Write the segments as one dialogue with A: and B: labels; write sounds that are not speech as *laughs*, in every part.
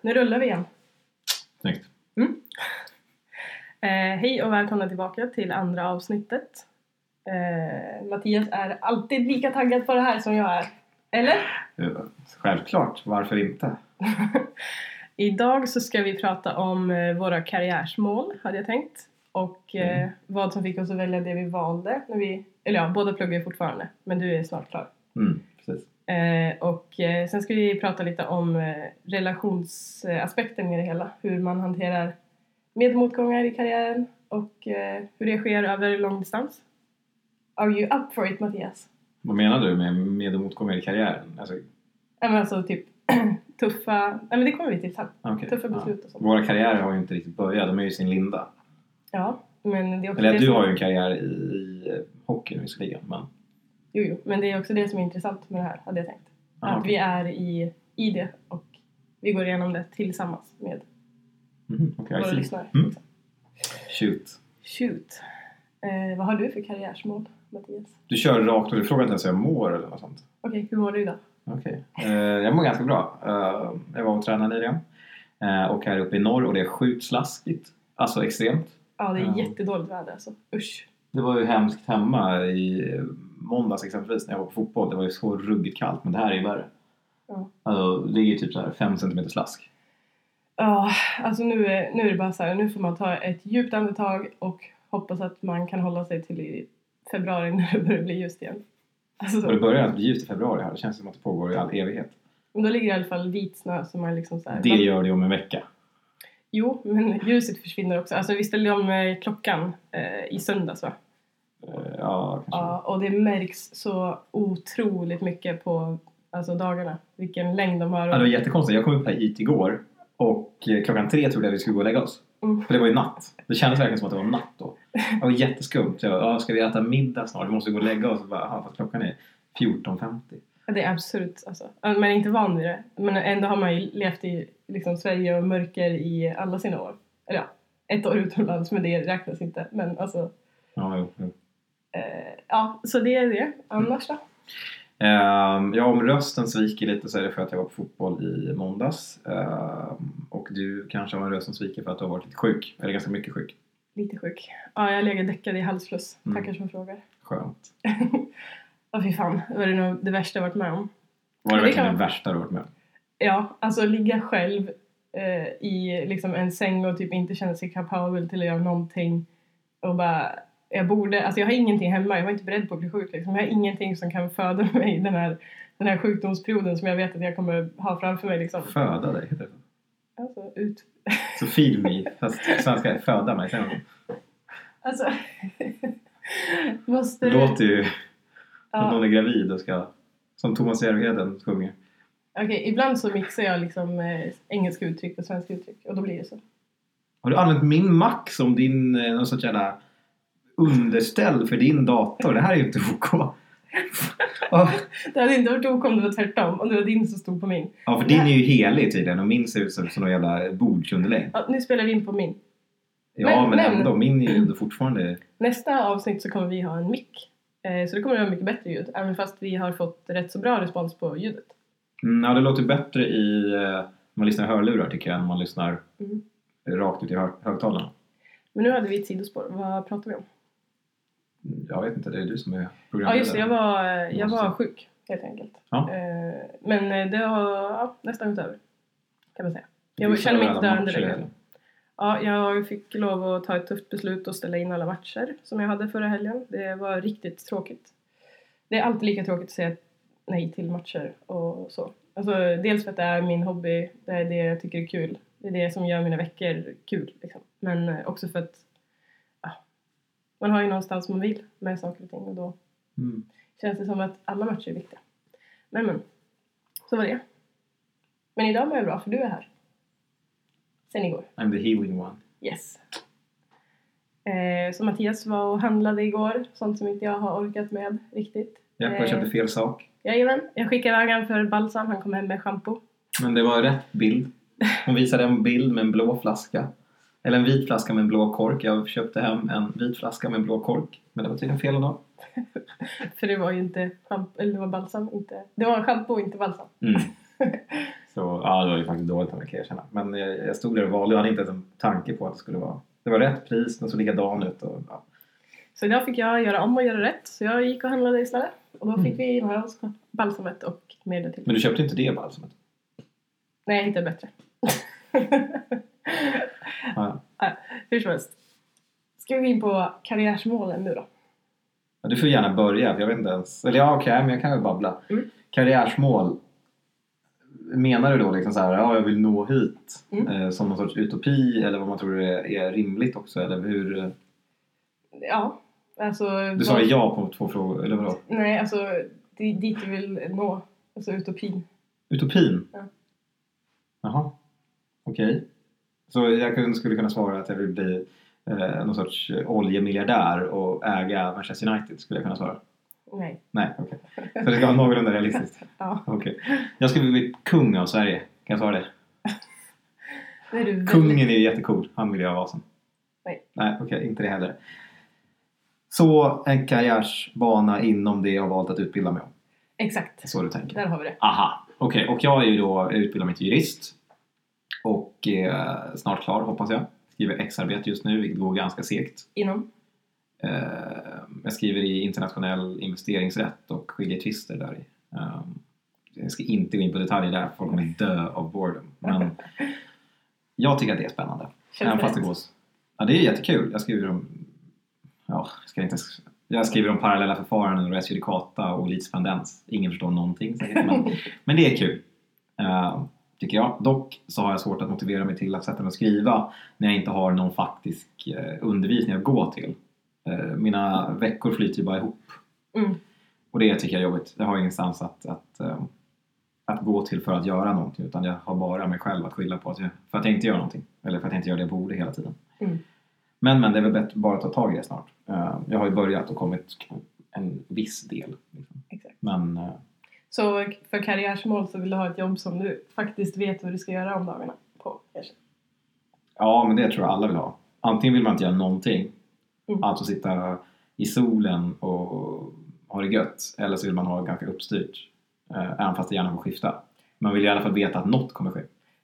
A: nu rullar vi igen.
B: Snyggt.
A: Eh, hej och välkomna tillbaka till andra avsnittet. Eh, Mattias är alltid lika taggad på det här som jag är. Eller?
B: Eh, Självklart, varför inte?
A: Idag så ska vi prata om eh, våra karriärsmål, hade jag tänkt. Och eh,
B: Mm.
A: vad som fick oss att välja det vi valde. När vi, eller ja, båda pluggar ju fortfarande, men du är snart klar.
B: Mm, precis.
A: Eh, och eh, sen ska vi prata lite om eh, relationsaspekten i det hela. Hur man hanterar med och motgångar i karriären och eh, hur det sker över lång distans. Are you up for it Mattias?
B: Vad menar du med med och motgångar i karriären? Alltså,
A: Ja men alltså typ *clears throat* tuffa, nej men det kommer vi till sen.
B: ah, okej.
A: Tuffa
B: Ja.
A: beslut och sånt.
B: Våra karriärer har ju inte riktigt börjat, de är ju i sin linda.
A: Ja, men det är också
B: Eller
A: det
B: du
A: som,
B: har ju en karriär i, i eh, hockeyn visserligen, men...
A: jo, jo, men det är också det som är intressant med det här hade jag tänkt.
B: Ah,
A: Att vi är i, i det och vi går igenom det tillsammans med
B: Mhm, okej, I
A: våra
B: see.
A: lyssnare.
B: Mm. Shoot.
A: Shoot. Eh, vad har du för karriärsmål, Mattias?
B: Du kör rakt och du frågar inte ens hur jag mår eller något sånt.
A: Okej, hur mår du idag?
B: Okej. Eh, jag mår ganska bra. Eh, jag var och tränade nyligen. Eh, och här uppe i norr och det är sjukt slaskigt. Alltså extremt.
A: Ja, det är
B: Ja.
A: jättedåligt väder alltså. Usch.
B: Det var ju hemskt hemma i måndags exempelvis när jag var på fotboll. Det var ju så ruggigt kallt men det här är ju värre.
A: Ja.
B: Alltså, det ligger ju typ så här 5 cm slask.
A: Ja, alltså nu är, nu är det bara så här, nu får man ta ett djupt andetag och hoppas att man kan hålla sig till i februari *laughs* när det börjar bli ljust igen. Alltså,
B: Och det börjar att bli ljust i februari här. Det känns som att det pågår i all evighet.
A: men då ligger det i alla fall vit snö som är liksom så här.
B: Det gör det om en vecka.
A: Jo, men ljuset försvinner också. Alltså vi ställde om eh, klockan eh, i söndags va?
B: Eh, Ja, kanske.
A: Ja, och det märks så otroligt mycket på alltså, dagarna. Vilken längd de har.
B: Ja, det var jättekonstigt. Jag kom upp här hit igår och eh, klockan tre trodde jag vi skulle gå och lägga oss.
A: Mm.
B: För det var ju natt. Det kändes verkligen som att det var natt då. Det var jätteskumt. Jag bara, "Ja, ska vi äta middag snart? Vi måste gå och lägga oss. Och bara, "Aha, fast klockan är 14.50.
A: Ja, Det är absurt alltså. Ja, Man är inte van vid det. Men ändå har man ju levt i liksom, Sverige och mörker i alla sina år. Eller ja, ett år utomlands men det räknas inte. Men alltså,
B: Ja, jo, jo.
A: eh, ja, så det är det. Annars då?
B: Ehm, ja, om rösten sviker lite så är det för att jag var på fotboll i måndags. Ehm, och du kanske har en röst som sviker för att du har varit lite sjuk. Eller ganska mycket sjuk.
A: Lite sjuk. Ja, jag lägger däckad i halsfluss.
B: Mm.
A: Tackar som frågar.
B: Skönt.
A: Ja, fy fan. Det var det nog det värsta jag varit med om.
B: Var det
A: Det kan
B: verkligen det
A: man-
B: värsta du varit med om?
A: Ja, alltså ligga själv eh, i liksom en säng och typ inte känna sig kapabel till att göra någonting och bara jag borde, alltså jag har ingenting hemma, jag var inte beredd på att bli sjuk liksom. Jag har ingenting som kan föda *laughs* mig i den här, den här sjukdomsperioden som jag vet att jag kommer ha framför mig liksom.
B: Föda dig, heter det så?
A: Alltså, ut.
B: Så feed me, fast svenska är föda mig. Säg något.
A: Alltså. *laughs* måste
B: Det låter ju som att
A: ja,
B: någon är gravid och ska... Som Thomas Järvheden sjunger.
A: Okej, ibland så mixar jag liksom eh, engelska uttryck och svenska uttryck och då blir det så.
B: Har du använt min Mac som din... eh, Någon sorts jävla underställ för din dator? Det här är ju inte OK.
A: *laughs*
B: Ja,
A: Det hade inte varit ok om det var tvärtom, om det var din som stod på min.
B: för din är ju helig tydligen och min ser ut som, som någon jävla bordsunderlägg.
A: Ja, nu spelar vi in på min.
B: Ja,
A: Men-
B: men,
A: men-
B: ändå. Min är ju ändå fortfarande...
A: Nästa avsnitt så kommer vi ha en mick. Eh, så det kommer att vara mycket bättre ljud. Även fast vi har fått rätt så bra respons på ljudet.
B: Mm, ja, det låter bättre i... eh, Om man lyssnar i hörlurar tycker jag än om man lyssnar
A: Mm.
B: rakt ut i hö- högtalarna.
A: Men nu hade vi ett sidospår. Vad pratar vi om?
B: Mm, Jag vet inte, det är du som är
A: Ja
B: programledare.
A: just det, jag var, eh, jag var
B: Måste.
A: sjuk helt enkelt.
B: Ja.
A: Eh, men eh, det har ja, nästan gått över. Kan man säga.
B: Du
A: jag
B: missade
A: känner mig
B: alla
A: inte där under
B: matcher,
A: det.
B: eller?
A: Ja, jag fick lov att ta ett tufft beslut och ställa in alla matcher som jag hade förra helgen. Det var riktigt tråkigt. Det är alltid lika tråkigt att säga nej till matcher och så. Alltså, dels för att det är min hobby, det är det jag tycker är kul. Det är det som gör mina veckor kul. Liksom. Men eh, också för att ja, man har ju någonstans man vill med saker och ting och då
B: Mm.
A: känns det som att alla matcher är viktiga. Men men, så var det. Men idag mår jag bra för du är här. Sen igår.
B: Mm. I'm the healing one.
A: Yes. Eh, så Mattias var och handlade igår, sånt som inte jag har orkat med riktigt.
B: Japp,
A: Eh.
B: jag köpte fel sak.
A: Jajamän, jag skickade iväg honom för balsam, han kom hem med shampoo.
B: Men det var rätt bild. Hon visade en bild med en blå flaska. Eller en vit flaska med en blå kork. Jag köpte hem en vit flaska med en blå kork. Men det var tydligen fel ändå.
A: För det var ju inte shampoo, eller det var balsam, inte... Det var shampoo, inte balsam.
B: Mm. *laughs* Så ja, det var ju faktiskt dåligt av mig kan jag erkänna. Men jag, jag stod där och valde. Jag hade inte ens en tanke på att det skulle vara... Det var rätt pris, den såg likadan ut och ja.
A: Så idag fick jag göra om och göra rätt. Så jag gick och handlade istället. Och då
B: Mm.
A: fick vi med oss balsamet och medel till.
B: Men du köpte inte det balsamet?
A: Nej, jag hittade bättre. *laughs*
B: Ja.
A: Hur som helst. Ska vi gå in på karriärsmålen nu då?
B: Ja, du får gärna börja, för jag vet inte ens. Eller ja, okej, men jag kan väl babbla.
A: Mm.
B: Karriärsmål. Menar du då liksom så här, ja, jag vill nå hit
A: Mm.
B: eh, som någon sorts utopi eller vad man tror är, är rimligt också? Eller hur?
A: Ja, alltså...
B: Du sa ja på två frågor, eller vadå?
A: Nej, alltså di- dit du vill nå. Alltså utopin.
B: Utopin?
A: Ja.
B: Jaha, okej. Så jag kunde- skulle kunna svara att jag vill bli eh, någon sorts oljemiljardär och äga Manchester United skulle jag kunna svara.
A: Nej.
B: Nej, okej. Så det ska vara någorlunda realistiskt.
A: Ja.
B: Okej. Jag skulle bli kung av Sverige, kan jag svara det?
A: Det är du väldigt-
B: Kungen är ju jättecool, han vill jag vara som.
A: Nej.
B: Nej, okej, inte det heller. Så en karriärsbana inom det jag valt att utbilda mig om.
A: Exakt.
B: Så du tänker?
A: Där har vi det.
B: Aha, okej. Och jag är ju då jag utbildar mig till jurist. Och eh, snart klar hoppas jag. Skriver exarbete just nu, vilket går ganska segt.
A: Inom.
B: Eh, jag skriver i internationell investeringsrätt och skiljetvister där i. Eh, jag ska inte gå in på detaljer där, folk kommer dö av boredom. Men jag tycker att det är spännande.
A: Känns
B: Även
A: det
B: fast det
A: rätt?
B: går... s- Ja, det är jättekul. Jag skriver om... Ja, ska jag inte... ens- Jag skriver om parallella förfaranden och res judicata och litispendens. Ingen förstår någonting säkert, men men det är kul. eh, tycker jag. Dock så har jag svårt att motivera mig till att sätta mig och skriva när jag inte har någon faktisk eh, undervisning att gå till. Eh, mina veckor flyter ju bara ihop.
A: *laughs* Mm.
B: Och det tycker jag är jobbigt. Jag har ingenstans att, att, eh, att gå till för att göra någonting utan jag har bara mig själv att skylla på att jag, för att jag inte gör någonting. Eller för att jag inte gör det jag borde hela tiden.
A: Mm.
B: Men, men det är väl bättre bara att ta tag i det snart. Eh, jag har ju börjat och kommit en viss del. Liksom.
A: Exakt.
B: Men eh,
A: Så för karriärsmål så vill du ha ett jobb som du faktiskt vet vad du ska göra om dagarna på kanske.
B: Ja, men det tror jag alla vill ha. Antingen vill man inte göra någonting,
A: Mm.
B: alltså sitta i solen och ha det gött, eller så vill man ha det ganska uppstyrt, eh, även fast det gärna får skifta. Man vill i alla fall veta att något kommer ske.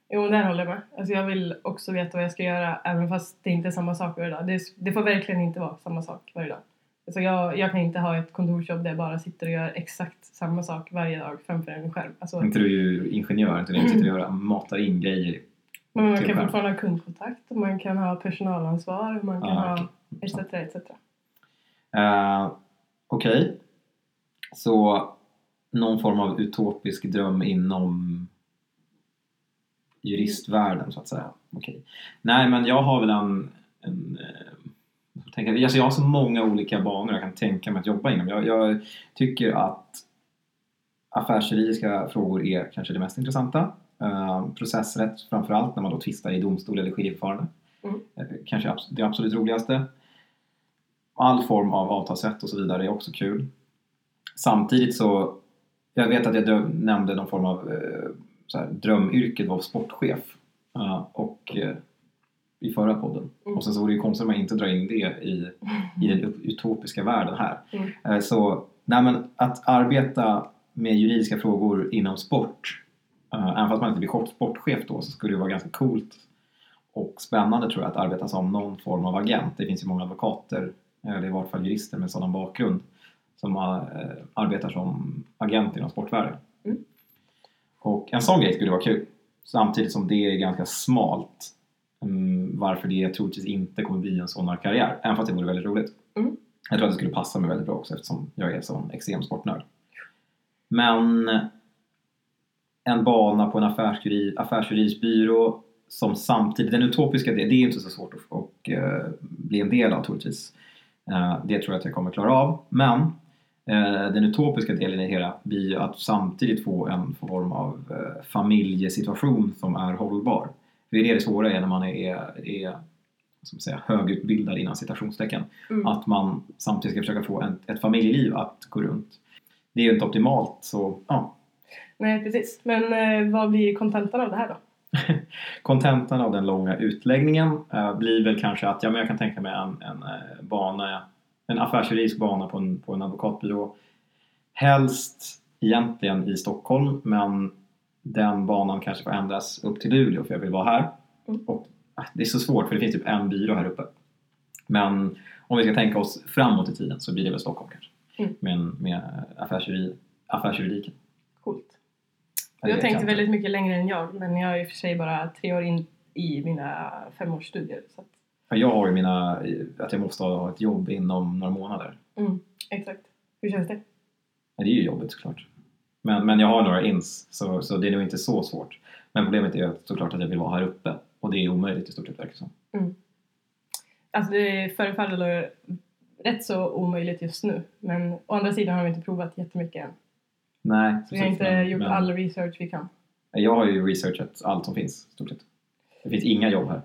A: Jo, men där håller jag med. Alltså jag vill också veta vad jag ska göra även fast det inte är samma sak varje dag. Det, det får verkligen inte vara samma sak varje dag. Alltså jag, jag kan inte ha ett kontorsjobb där jag bara sitter och gör exakt samma sak varje dag framför en skärm. Alltså,
B: Inte du är ju ingenjör, inte du sitter och gör- matar in grejer.
A: men man
B: till
A: kan
B: skärm.
A: fortfarande ha kundkontakt och man kan ha personalansvar och man kan
B: Ja,
A: ha
B: Ah, okej.
A: etc. etc.
B: Eh, Okej, så någon form av utopisk dröm inom juristvärlden så att säga. Okej. Nej, men jag har väl en... en eh, jag får tänka, alltså jag har så många olika banor jag kan tänka mig att jobba inom. Jag, jag tycker att affärsjuridiska frågor är kanske det mest intressanta. Eh, processrätt framförallt när man då tvistar i domstol eller skiljeförfarande.
A: Mm.
B: Eh, kanske abs- det absolut roligaste. All form av avtalsrätt och så vidare är också kul. Samtidigt så, jag vet att jag dö- nämnde någon form av eh, så här, drömyrket var sportchef eh, och, eh, i förra podden.
A: Mm.
B: Och sen så vore det ju konstigt om jag inte drar in det i, i den ut- utopiska världen här.
A: Mm.
B: Eh, Så, nej men att arbeta med juridiska frågor inom sport, eh, även fast man inte blir kort sportchef då, så skulle det vara ganska coolt och spännande tror jag att arbeta som någon form av agent. Det finns ju många advokater, eh, eller i vart fall jurister med sådan bakgrund, som eh, arbetar som agent inom sportvärlden.
A: Mm.
B: Och en sån grej skulle vara kul. Samtidigt som det är ganska smalt mm, varför det troligtvis inte kommer bli en sån här karriär. Även fast det vore väldigt roligt.
A: Mm.
B: Jag tror att det skulle passa mig väldigt bra också eftersom jag är sån extrem sportnörd. Men en bana på en affärsjuri- affärsjuridisk byrå som samtidigt, den utopiska delen, det är inte så svårt att att, eh, bli en del av troligtvis. Eh, det tror jag att jag kommer klara av. Men eh, den utopiska delen i det hela blir ju att samtidigt få en form av eh, familjesituation som är hållbar. För det är det svåra är när man är, är som säga, högutbildad inom citationstecken.
A: Mm.
B: Att man samtidigt ska försöka få ett, ett familjeliv att gå runt. Det är ju inte optimalt så ja,
A: Nej, precis. Men eh, vad blir kontentan av det här då?
B: kontentan av den långa utläggningen eh, blir väl kanske att ja, men jag kan tänka mig en, en eh, bana, en affärsjuridisk bana på en, på en advokatbyrå. Helst egentligen i Stockholm men den banan kanske får ändras upp till Luleå för jag vill vara här.
A: Mm.
B: Och, ah, det är så svårt för det finns typ en byrå här uppe. Men om vi ska tänka oss framåt i tiden så blir det väl Stockholm kanske.
A: Mm.
B: Med, med affärsjuri, affärsjuridiken.
A: Coolt.
B: Eller
A: Jag tänkte
B: kanske-
A: väldigt mycket längre än jag, men jag är i och för sig bara tre år in i mina femårsstudier. Så att,
B: Ja, Jag har ju mina, att jag måste ha ett jobb inom några månader.
A: mm, exakt. Hur känns det?
B: Men det är ju jobbigt såklart. Men, men jag har några ins, så, så det är nog inte så svårt. Men problemet är ju att, såklart att jag vill vara här uppe. Och det är omöjligt i stort sett verkar det som.
A: Alltså det förefaller rätt så omöjligt just nu, men å andra sidan har vi inte provat jättemycket än.
B: Nej,
A: Så vi har
B: precis,
A: inte
B: men-
A: gjort
B: men-
A: all research vi kan.
B: Jag har ju researchat allt som finns, i stort sett. Det finns inga jobb här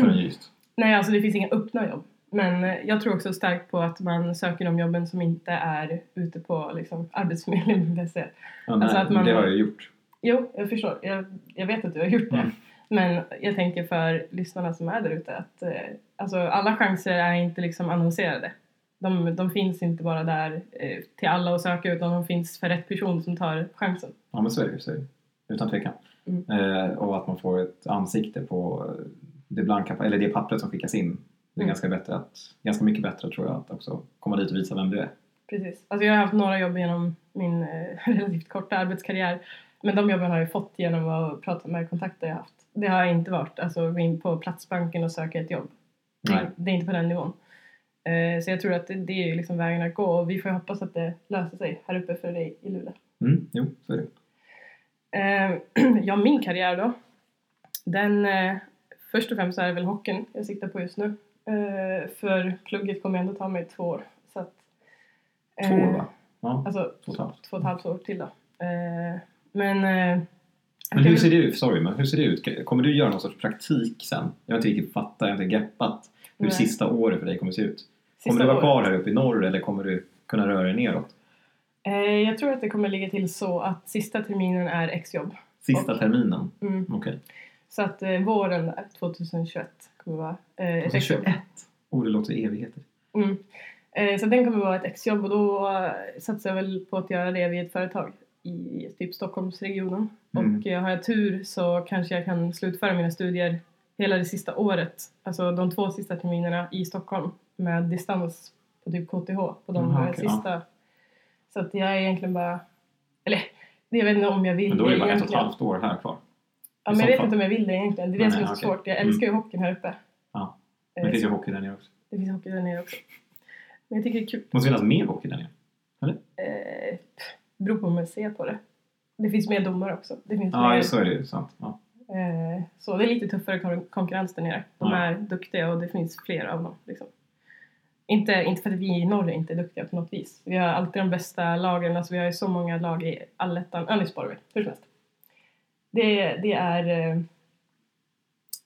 A: *clears throat*
B: förrän just.
A: Nej, alltså det finns inga öppna jobb. Men eh, jag tror också starkt på att man söker de jobben som inte är ute på liksom, arbetsförmedlingen.se.
B: Ja, nej,
A: Alltså att man-
B: eh, Det har jag ju gjort.
A: Jo, jag förstår. Jag, jag vet att du har gjort det.
B: Mm.
A: Men jag tänker för lyssnarna som är där ute att eh, alltså, alla chanser är inte liksom annonserade. De, de finns inte bara där eh, till alla att söka utan de finns för rätt person som tar chansen.
B: Ja, men så är det ju. så är det ju. Utan tvekan.
A: Mm.
B: Eh, och att man får ett ansikte på eh, det blanka, eller det pappret som skickas in. Det är
A: Mm.
B: ganska, bättre att, ganska mycket bättre tror jag att också komma dit och visa vem du är.
A: Precis. Alltså, jag har haft några jobb genom min eh, *laughs* relativt korta arbetskarriär men de jobben har jag fått genom att prata med kontakter jag haft. Det har jag inte varit, alltså gå in på Platsbanken och söka ett jobb. Det
B: Nej.
A: är, det är inte på den nivån. Eh, så jag tror att det, det är ju liksom vägen att gå och vi får hoppas att det löser sig här uppe för dig i Luleå.
B: Mm, jo, så är det.
A: Eh, *clears throat* ja, min karriär då. Den, eh, först och främst så är det väl hockeyn jag siktar på just nu. Eh, för plugget kommer ändå ta mig två år. Så att, eh,
B: Två år va? Ja,
A: Alltså
B: två och ett halvt.
A: två och ett halvt år till då. Eh, men eh,
B: Men hur
A: jag-
B: ser det ut? Sorry, men hur ser det ut? Kommer du göra någon sorts praktik sen? Jag har inte riktigt fattat, jag har inte greppat hur
A: Nej.
B: sista året för dig kommer se ut.
A: sista
B: Kommer du vara
A: året.
B: kvar här uppe i norr eller kommer du kunna röra dig neråt?
A: Eh, jag tror att det kommer ligga till så att sista terminen är exjobb.
B: Sista
A: Och-
B: terminen?
A: Mm.
B: Okej.
A: Så att eh, våren där, 2021 kommer vara eh, ett exjobb.
B: 2021? Oh, det låter evigheter.
A: Mm. Eh, så den kommer vara ett exjobb och då eh, satsar jag väl på att göra det vid ett företag i typ Stockholmsregionen.
B: Mm.
A: Och eh, har jag tur så kanske jag kan slutföra mina studier hela det sista året, alltså de två sista terminerna i Stockholm med distans på typ KTH på de
B: Mhm,
A: här
B: okej, ja.
A: sista. Så att jag är egentligen bara, eller jag vet inte om jag vill
B: Men då är det bara ett och ett
A: egentligen.
B: halvt år här kvar.
A: Ja,
B: i
A: men jag
B: så
A: vet
B: fall.
A: inte om jag vill det egentligen. Det är det
B: Nej,
A: som är
B: nej,
A: så
B: okej. Mm.
A: svårt. Jag älskar ju hockeyn här uppe.
B: Ja.
A: Eh,
B: Men det finns ju
A: så-
B: hockey där nere också.
A: det finns hockey där nere också. Men jag tycker det är kul.
B: Det måste finnas mer hockey där nere.
A: Eh, pff, beror på hur man ser på det. Det finns mer domare också. Det finns
B: Ja,
A: mer,
B: ja, så är det ju. Sant. Ja.
A: eh, så det är lite tuffare kon- konkurrens där nere. De
B: Ja.
A: är duktiga och det finns fler av dem. Liksom. Inte, inte för att vi i norr inte är duktiga på något vis. Vi har alltid de bästa lagen. Alltså, vi har ju så många lag i allettan. Ja, nu sparar vi. Hur som helst. Det, det är... eh,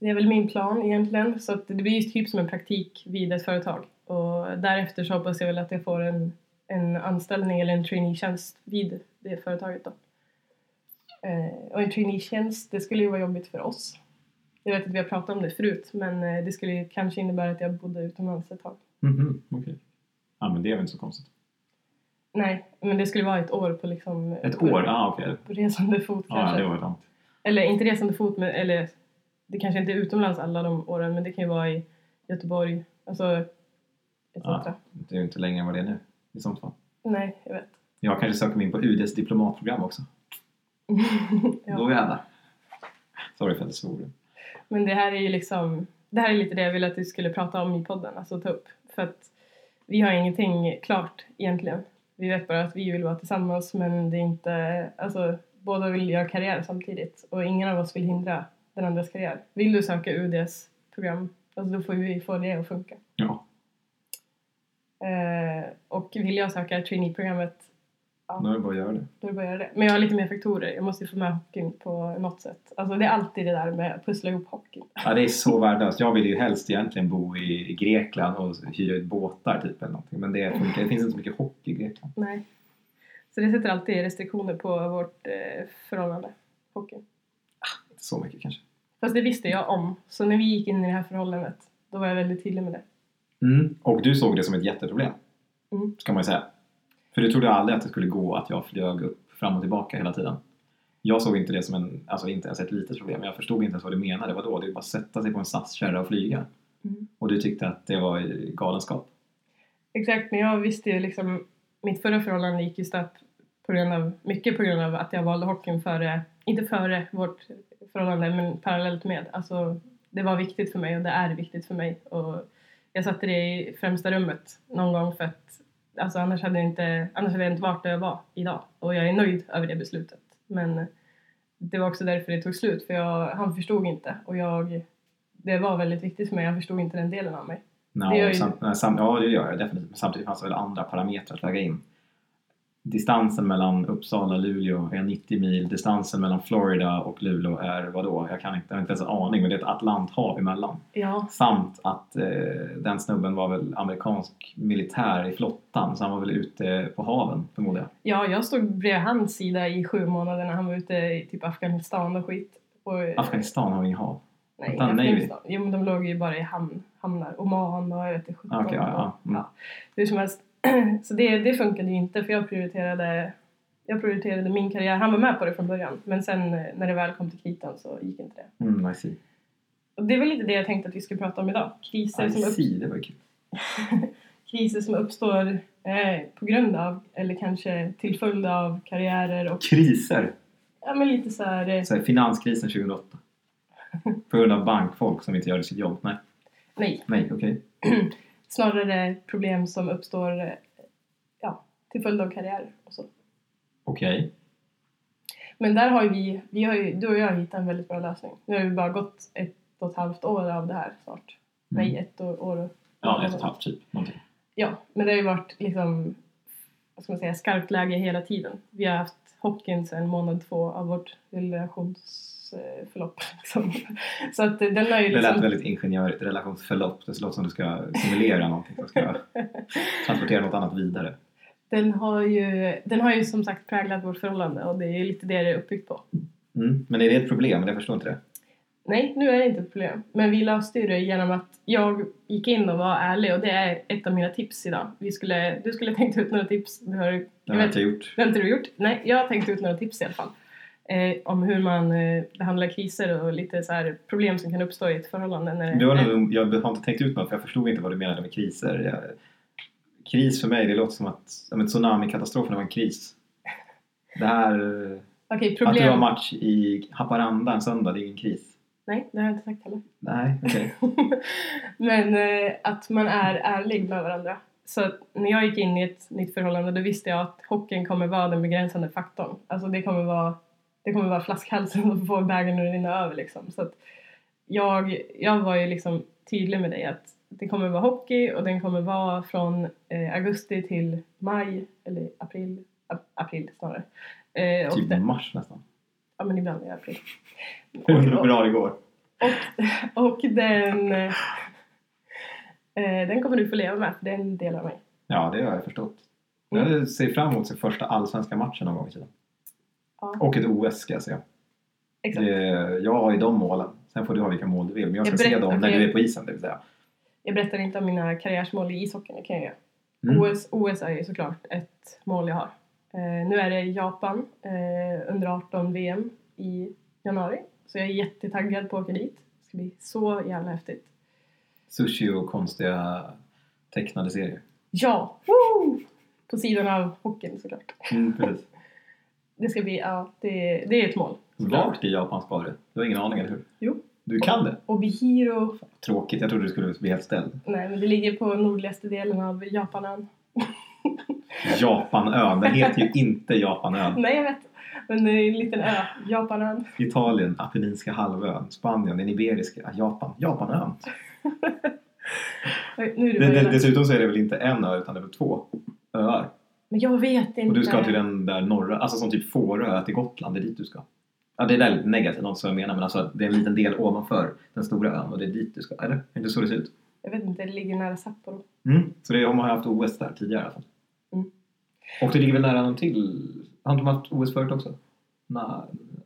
A: Det är väl min plan egentligen. Så att det blir ju typ som en praktik vid ett företag. Och därefter så hoppas jag väl att jag får en, en anställning eller en traineetjänst vid det företaget då. Eh, och en traineetjänst, det skulle ju vara jobbigt för oss. Jag vet att vi har pratat om det förut men eh, det skulle ju kanske innebära att jag bodde utomlands ett tag.
B: Mhm, okej. Ja, men det är väl inte så konstigt.
A: Nej, men det skulle vara ett år på liksom...
B: Ett
A: på-
B: år? Ja, okej. Okay.
A: På resande fot
B: Ja,
A: kanske.
B: det var ett annat.
A: Eller inte resande fot, men, eller det kanske inte är utomlands alla de åren, men det kan ju vara i Göteborg, alltså etc.
B: Ja. Det är ju inte längre än vad det är nu. I sånt fall.
A: Nej, jag vet.
B: Jag kanske söker mig in på UDs diplomatprogram *laughs* också.
A: Ja.
B: Då jävlar. Sorry för att jag svor.
A: Men det här är ju liksom, det här är lite det jag ville att vi skulle prata om i podden, alltså ta upp. För att vi har ingenting klart egentligen. Vi vet bara att vi vill vara tillsammans men det är inte, alltså båda vill göra karriär samtidigt och ingen av oss vill hindra den andras karriär. Vill du söka UDs program, alltså då får vi få det att funka.
B: Ja,
A: Eh, och vill jag söka trainee-programmet, ja,
B: då är det bara att göra det.
A: då är det bara att göra det. Men jag har lite mer faktorer, jag måste ju få med hockeyn på något sätt. Alltså det är alltid det där med att pussla ihop hockeyn.
B: Ja, det är så värdelöst. Jag vill ju helst egentligen bo i Grekland och hyra ut båtar typ eller någonting. Men det, funkar. det finns inte så mycket hockey i Grekland.
A: Nej. Så det sätter alltid restriktioner på vårt eh, förhållande, hockeyn.
B: Inte så mycket kanske.
A: Fast det visste jag om, så när vi gick in i det här förhållandet, då var jag väldigt tydlig med det.
B: Mm. Och du såg det som ett jätteproblem.
A: Mm.
B: Ska man ju säga. För du trodde aldrig att det skulle gå att jag flög upp fram och tillbaka hela tiden. Jag såg inte det som en, alltså inte ens ett litet problem. Jag förstod inte ens vad du menade. Vadå? Det är ju bara att sätta sig på en SAS-kärra och flyga.
A: Mm.
B: Och du tyckte att det var galenskap.
A: Exakt, men jag visste ju liksom, mitt förra förhållande gick ju snabbt på grund av, mycket på grund av att jag valde hockeyn före, inte före vårt förhållande, men parallellt med. Alltså, det var viktigt för mig och det är viktigt för mig. Och jag satte det i främsta rummet någon gång för att alltså, annars, hade jag inte, annars hade jag inte varit där jag var idag. Och jag är nöjd över det beslutet. Men det var också därför det tog slut, för jag, han förstod inte. Och jag, det var väldigt viktigt för mig, han förstod inte den delen av mig.
B: No,
A: Det gör ju-
B: sam, nej, sam, ja, det gör jag definitivt. Men samtidigt fanns det väl andra parametrar att väga in. Distansen mellan Uppsala och Luleå är 90 mil. Distansen mellan Florida och Luleå är vadå? Jag kan inte, jag har inte ens en aning, men det är ett Atlanthav emellan.
A: Ja,
B: Samt att eh, den snubben var väl amerikansk militär i flottan, så han var väl ute på haven förmodar jag.
A: Ja, jag stod bredvid hans sida i sju månader när han var ute i typ Afghanistan och skit. Och,
B: Eh. Afghanistan har inget hav.
A: nej,
B: vänta, nej.
A: Afghanistan. Jo, men de låg ju bara i hamn, hamnar. Oman och jag vet inte sjutton.
B: Ah, okej, ja, ja, mm.
A: Ja, hur som helst. *clears throat* Så det, det funkade ju inte för jag prioriterade, jag prioriterade min karriär. Han var med på det från början men sen eh, när det väl kom till kritan så gick inte det.
B: Mm, I see.
A: Och det var lite det jag tänkte att vi skulle prata om idag. Kriser,
B: I
A: som, upp,
B: see, det var ju kul.
A: kriser som uppstår eh, på grund av eller kanske till följd av karriärer och
B: Kriser!
A: ja, men lite så här... eh,
B: Så här, finanskrisen *laughs* 2008. På grund av bankfolk som inte gör sitt jobb. Nej,
A: nej,
B: nej okej.
A: snarare problem som uppstår eh, ja, till följd av karriär och så.
B: Okej.
A: Men där har ju vi, vi har ju, du och jag har hittat en väldigt bra lösning. Nu har vi bara gått ett och ett halvt år av det här snart.
B: Mm.
A: Nej, ett år, år och...
B: Ja, ett och ett halvt typ. Någonting.
A: Ja, men det har ju varit liksom, vad ska man säga, skarpt läge hela tiden. Vi har haft hockeyn sedan månad två av vårt relationsförlopp. *laughs* Liksom. Så att eh, den har ju
B: Det lät
A: liksom...
B: väldigt ingenjörigt. Relationsförlopp. Det låter som du ska simulera någonting. Du *laughs* ska transportera något annat vidare.
A: Den har ju, den har ju som sagt präglat vårt förhållande och det är ju lite det det är uppbyggt på.
B: Mm. Men är det ett problem? Jag förstår inte det.
A: Nej, nu är det inte ett problem. Men vi löste ju det genom att jag gick in och var ärlig och det är ett av mina tips idag. Vi skulle, du skulle *laughs* tänkt ut några tips. Det har, du-
B: Det
A: jag
B: har
A: vet,
B: jag inte gjort.
A: det har inte du gjort. Nej, jag har tänkt ut några tips i alla fall. Eh, om hur man eh, behandlar kriser och lite så här problem som kan uppstå i ett förhållande. När det,
B: Du har nog, jag har inte tänkt ut något för jag förstod inte vad du menade med kriser. Jag, kris för mig, det låter som att ja, men tsunamikatastrofen var en kris. Det här,
A: Okej,
B: att du har
A: problem.
B: match i Haparanda en söndag, det är ingen kris.
A: Nej, det har jag inte sagt heller.
B: Nej,
A: *laughs*
B: okej.
A: Men eh, att man är ärlig med varandra. Så att när jag gick in i ett nytt förhållande då visste jag att hockeyn kommer vara den begränsande faktorn. Alltså det kommer vara, det kommer vara flaskhalsen som får bägaren att rinna över liksom. Så att jag, jag var ju liksom tydlig med dig att det kommer vara hockey och den kommer vara från eh, augusti till maj eller april, ap- april snarare. Eh, och
B: Typ
A: det,
B: mars nästan.
A: ja men ibland är april.
B: Hur bra det går.
A: Och den, eh, eh, den kommer du få leva med, för det är en del av mig.
B: Ja, det har jag förstått.
A: Mm.
B: Jag ser fram emot sin första allsvenska matchen någon gång i tiden.
A: Ja.
B: Och ett OS ska jag se.
A: Exakt.
B: Det, jag har ju de målen. Sen får du ha vilka mål du vill. Men jag ska
A: Jag
B: se
A: berättar-
B: dem när
A: okej.
B: du är på isen, det vill säga.
A: Jag berättar inte om mina karriärsmål i ishockeyn, det kan jag göra.
B: Mm.
A: OS, OS är ju såklart ett mål jag har. Eh, nu är det Japan, eh, under 18 VM i januari. Så jag är jättetaggad på att åka dit. Det ska bli så jävla häftigt.
B: Sushi och konstiga tecknade serier.
A: Ja! Woo! På sidan av hockeyn såklart.
B: Mm, precis.
A: Det ska bli, ja, det, det är ett mål.
B: *laughs* Vart i Japan ska du? Du har ingen aning, eller hur?
A: Jo.
B: Du kan det?
A: Obihiro,
B: Tråkigt. Jag trodde du skulle bli helt ställd.
A: nej men det ligger på nordligaste delen av Japanön.
B: Japanön. Den heter ju inte *laughs* Japanön.
A: Nej, jag vet. Men det är en liten ö. Japanön.
B: Italien, Apenninska halvön. Spanien, den iberiska. Japan. Japanön.
A: Oj, Nu är det
B: Det, det,
A: början.
B: dessutom så är det väl inte en ö, utan det är väl två öar.
A: Men jag vet inte.
B: Och du ska till den där norra, alltså som typ Fårö till Gotland, det är dit du ska. Ja, det är väldigt negativt, något som jag menar, men alltså det är en liten del ovanför den stora ön och det är dit du ska, eller? Är det inte så det ser ut?
A: Jag vet inte, det ligger nära Sapporo.
B: Mm. Så det, de har haft OS där tidigare i alla fall.
A: Mm.
B: Och det ligger väl nära någon till, har inte de haft OS förut också? Nej,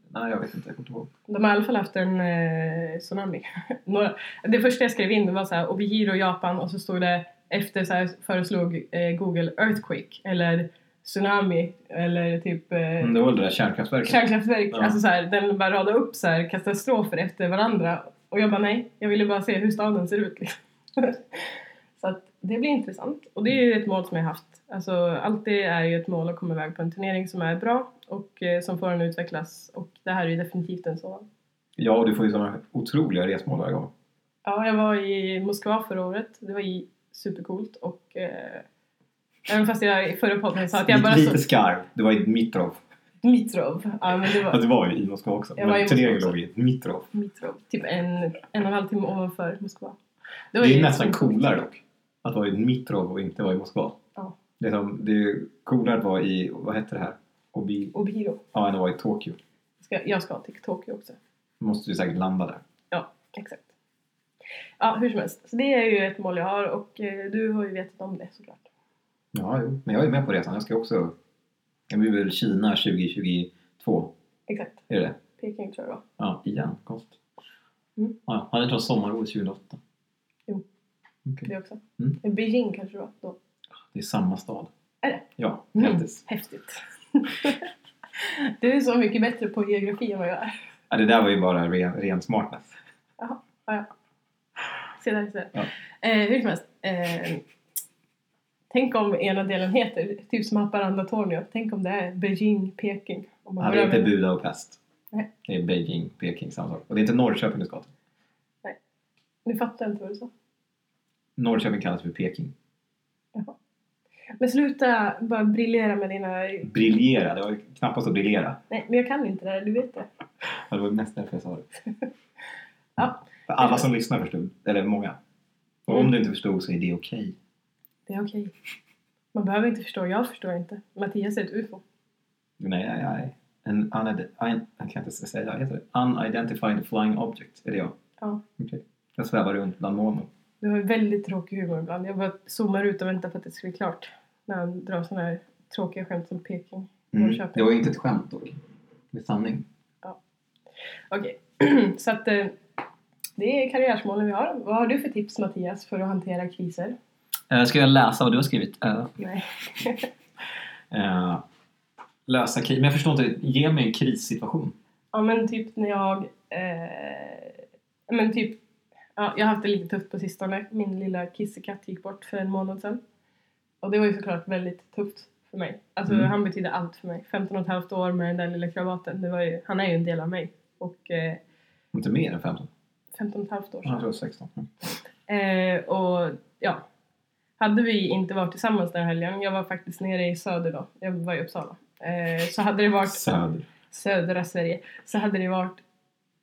B: nej jag vet inte, jag kommer inte ihåg.
A: De har i alla fall haft en eh, tsunami. *laughs* Några, det första jag skrev in det var så här, Obihiro, Japan och så stod det efter så här, föreslog eh, Google Earthquake eller tsunami eller typ eh,
B: Mm, det var väl det där kärnkraftverket.
A: kärnkraftverk.
B: Ja.
A: Alltså så här, den bara radade upp så här, katastrofer efter varandra. Och jag bara nej, jag ville bara se hur staden ser ut. Liksom. *laughs* så att det blir intressant. Och det är ju ett mål som jag haft. Alltså, allt det är ju ett mål att komma iväg på en turnering som är bra och eh, som får en att utvecklas. Och det här är ju definitivt en sådan.
B: Ja, och du får ju sådana otroliga resmål varje gång.
A: Ja, jag var i Moskva förra året. Det var i supercoolt och eh, även fast jag i förra podden sa att jag bara
B: Lite- Lite
A: såg
B: skarv. Det var i Dmitrov.
A: Dmitrov. Ja, men det
B: Ja,
A: var
B: det var ju i Moskva också.
A: Jag var i
B: Men
A: Moskva
B: turneringen
A: också.
B: låg i Dmitrov.
A: Dmitrov. Typ en, en och en halv timme ovanför Moskva.
B: Det,
A: var
B: är
A: ju- liksom
B: nästan coolare dock. Att vara i Dmitrov och inte vara i Moskva.
A: Ja.
B: Det är, som, det är coolare att vara i, vad heter det här? Obi,
A: Och Biro.
B: ja, än att vara i Tokyo.
A: Ska, jag ska till Tokyo också.
B: Måste ju säkert landa där.
A: Ja, exakt. Ja, hur som helst. Så det är ju ett mål jag har och eh, du har ju vetat om det såklart.
B: Ja, jo. Men jag är med på resan. Jag ska också... Det blir väl Kina 2022?
A: Exakt.
B: Är det det
A: Peking tror jag det var.
B: Ja, igen. Konstigt.
A: Mm.
B: Ja, hade inte de sommar-OS 2008?
A: Jo.
B: Okej.
A: Det också.
B: Mm.
A: Men Beijing kanske det var då.
B: Det är samma stad.
A: Är det?
B: Ja,
A: Mm.
B: grattis.
A: Häftigt. *laughs* du är så mycket bättre på geografi än vad jag är.
B: Ja, det där var ju bara ren, ren smartness.
A: Se där, se där.
B: Ja.
A: Eh, hur som helst. Eh, tänk om ena delen heter, typ som Haparanda-Tornio. Tänk om det är Beijing, Peking. Om
B: Ja, det är inte
A: börjar med-
B: Buda och Pest.
A: Nej.
B: Det är Beijing, Peking, samma sak. Och det är inte Norrköping du ska till.
A: Nu fattar jag inte vad du sa.
B: Norrköping kallas för Peking.
A: Men sluta bara briljera med dina...
B: Briljera, det var ju knappast att briljera.
A: Nej, men jag kan inte det här, du vet det.
B: Ja, Det var nästan därför jag sa det.
A: *laughs* Ja,
B: För alla som lyssnar förstod, eller många. Och om
A: Mm.
B: du inte förstod så är det okej.
A: det är okej. Man behöver inte förstå, jag förstår inte. Mattias är ett ufo.
B: Nej, nej, nej. En unid- un- jag kan inte säga, vad heter det? Unidentified flying object, är det jag?
A: Ja.
B: Okej. Jag svävar runt bland molnen.
A: Du har ju väldigt tråkig humor ibland. Jag bara zoomar ut och väntar på att det ska bli klart. När han drar såna här tråkiga skämt som Peking. Norrköping.
B: Mm. Det var ju inte ett skämt dock. Det är sanning.
A: Okej, så att eh, det är karriärsmålen vi har. Vad har du för tips Mattias för att hantera kriser?
B: Eh, ska jag läsa vad du har skrivit?
A: Nej.
B: Eh, lösa kris. Men jag förstår inte, ge mig en krissituation.
A: Ja men typ när jag... Eh, men typ... Ja, jag har haft det lite tufft på sistone. Min lilla kissekatt gick bort för en månad sedan. Och det var ju såklart väldigt tufft för mig. Alltså
B: Mm.
A: han betyder allt för mig. 15 och ett halvt år med den där lilla kravaten. Det var ju, han är ju en del av mig. Och eh,
B: Inte mer än 15?
A: 15 och ett halvt år
B: Jag
A: sedan.
B: tror 16. Mm.
A: Eh, och ja, hade vi inte varit tillsammans den här helgen, jag var faktiskt nere i söder då, jag var i Uppsala, eh, så hade det varit
B: Söder.
A: södra Sverige, så hade det varit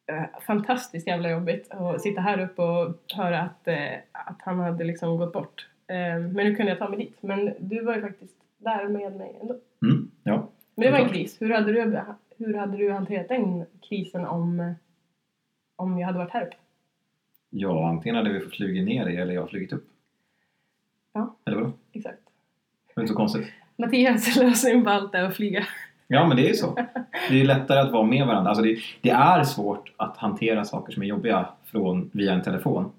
A: eh, fantastiskt jävla jobbigt att sitta här uppe och höra att, eh, att han hade liksom gått bort. Eh, men nu kunde jag ta mig dit, men du var ju faktiskt där med mig ändå.
B: Mm. Ja.
A: Men det var en
B: Såklart.
A: kris, hur hade du, hur hade du hanterat den krisen om, om jag hade varit här uppe?
B: ja, antingen hade vi fått flyga ner dig eller jag flugit upp.
A: Ja.
B: Eller vadå?
A: Exakt.
B: Det är inte så konstigt.
A: Mattias *laughs* lösning på allt är att flyga.
B: Ja, men det är ju så. Det är lättare att vara med varandra. Alltså det, det är svårt att hantera saker som är jobbiga från, via en telefon.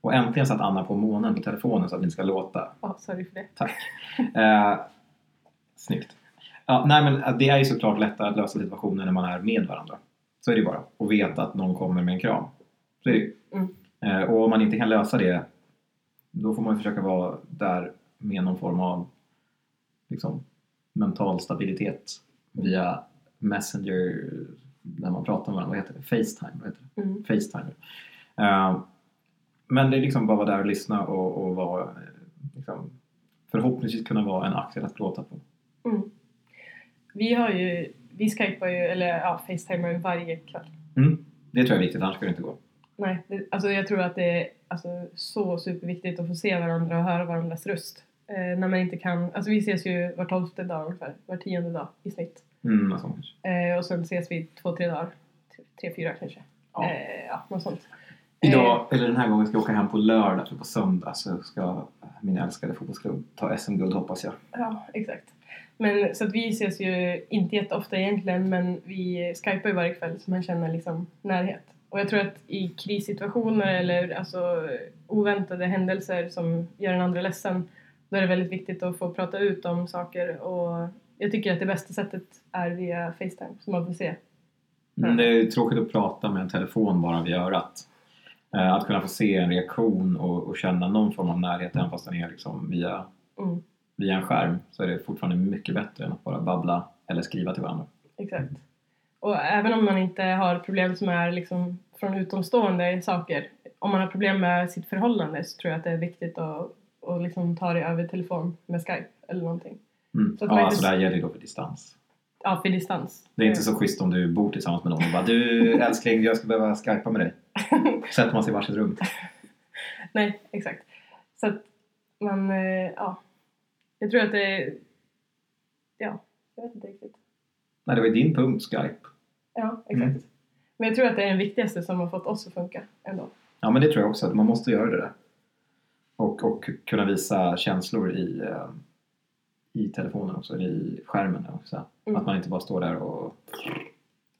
B: Och äntligen satt Anna på månen på telefonen så att vi inte ska låta.
A: Ja, sorry för det.
B: Eh, snyggt. Ja, nej, men att det är ju såklart lättare att lösa situationer när man är med varandra. Så är det ju bara. Och veta att någon kommer med en kram. Så är det ju.
A: Mm.
B: Eh, och om man inte kan lösa det, då får man ju försöka vara där med någon form av liksom, mental stabilitet via Messenger, när man pratar med varandra. Vad heter det? Facetime? Vad heter det?
A: Mm.
B: Facetime. Eh, men det är liksom bara vara där och lyssna och, och vara, eh, liksom, förhoppningsvis kunna vara en axel att gråta på.
A: Mm. Vi har ju, vi skypar ju, eller ja, facetimar ju varje kväll.
B: Mm. Det tror jag är viktigt, annars skulle det inte gå.
A: Nej, det, alltså jag tror att det är alltså, så superviktigt att få se varandra och höra varandras röst. Eh, när man inte kan, alltså vi ses ju var tolfte dag ungefär, var tionde dag i snitt.
B: Mm, alltså, kanske.
A: Eh, och sen ses vi två, tre dagar, Tre- tre, fyra kanske.
B: ja.
A: Eh, ja, något sånt. Eh,
B: Idag, eller den här gången, ska jag åka hem på lördag. För på söndag så ska min älskade fotbollsklubb ta SM-guld hoppas jag.
A: Ja, exakt. Men, så att vi ses ju inte jätteofta egentligen men vi skypar ju varje kväll så man känner liksom närhet. Och jag tror att i krissituationer eller alltså oväntade händelser som gör den andra ledsen då är det väldigt viktigt att få prata ut om saker och Jag tycker att det bästa sättet är via Facetime så man får se.
B: Men det är ju tråkigt att prata med en telefon bara vid örat. Eh, Att kunna få se en reaktion och, och känna någon form av närhet även fast den är liksom via,
A: Mm,
B: via en skärm så är det fortfarande mycket bättre än att bara babbla eller skriva till varandra.
A: exakt.
B: Mm.
A: Och även om man inte har problem som är liksom från utomstående saker. Om man har problem med sitt förhållande så tror jag att det är viktigt att, att liksom ta det över telefon med Skype eller någonting.
B: Mm.
A: Så att man
B: Ja,
A: inte-
B: alltså det här gäller ju då för distans.
A: Ja, för distans.
B: Det är inte så schysst om du bor tillsammans med någon och bara du älskling jag ska behöva
A: *laughs*
B: skypa med dig. Sätter man sig i varsitt rum.
A: Nej, exakt. Så att man, eh, ja. Jag tror att det, ja, jag vet inte riktigt.
B: Nej det var ju din punkt skype.
A: Ja, exakt.
B: Mm.
A: Men jag tror att det är den viktigaste som har fått oss att funka ändå.
B: Ja men det tror jag också att man måste göra det där. Och, och kunna visa känslor i, eh, i telefonen också, eller i skärmen också.
A: Mm.
B: Att man inte bara står där och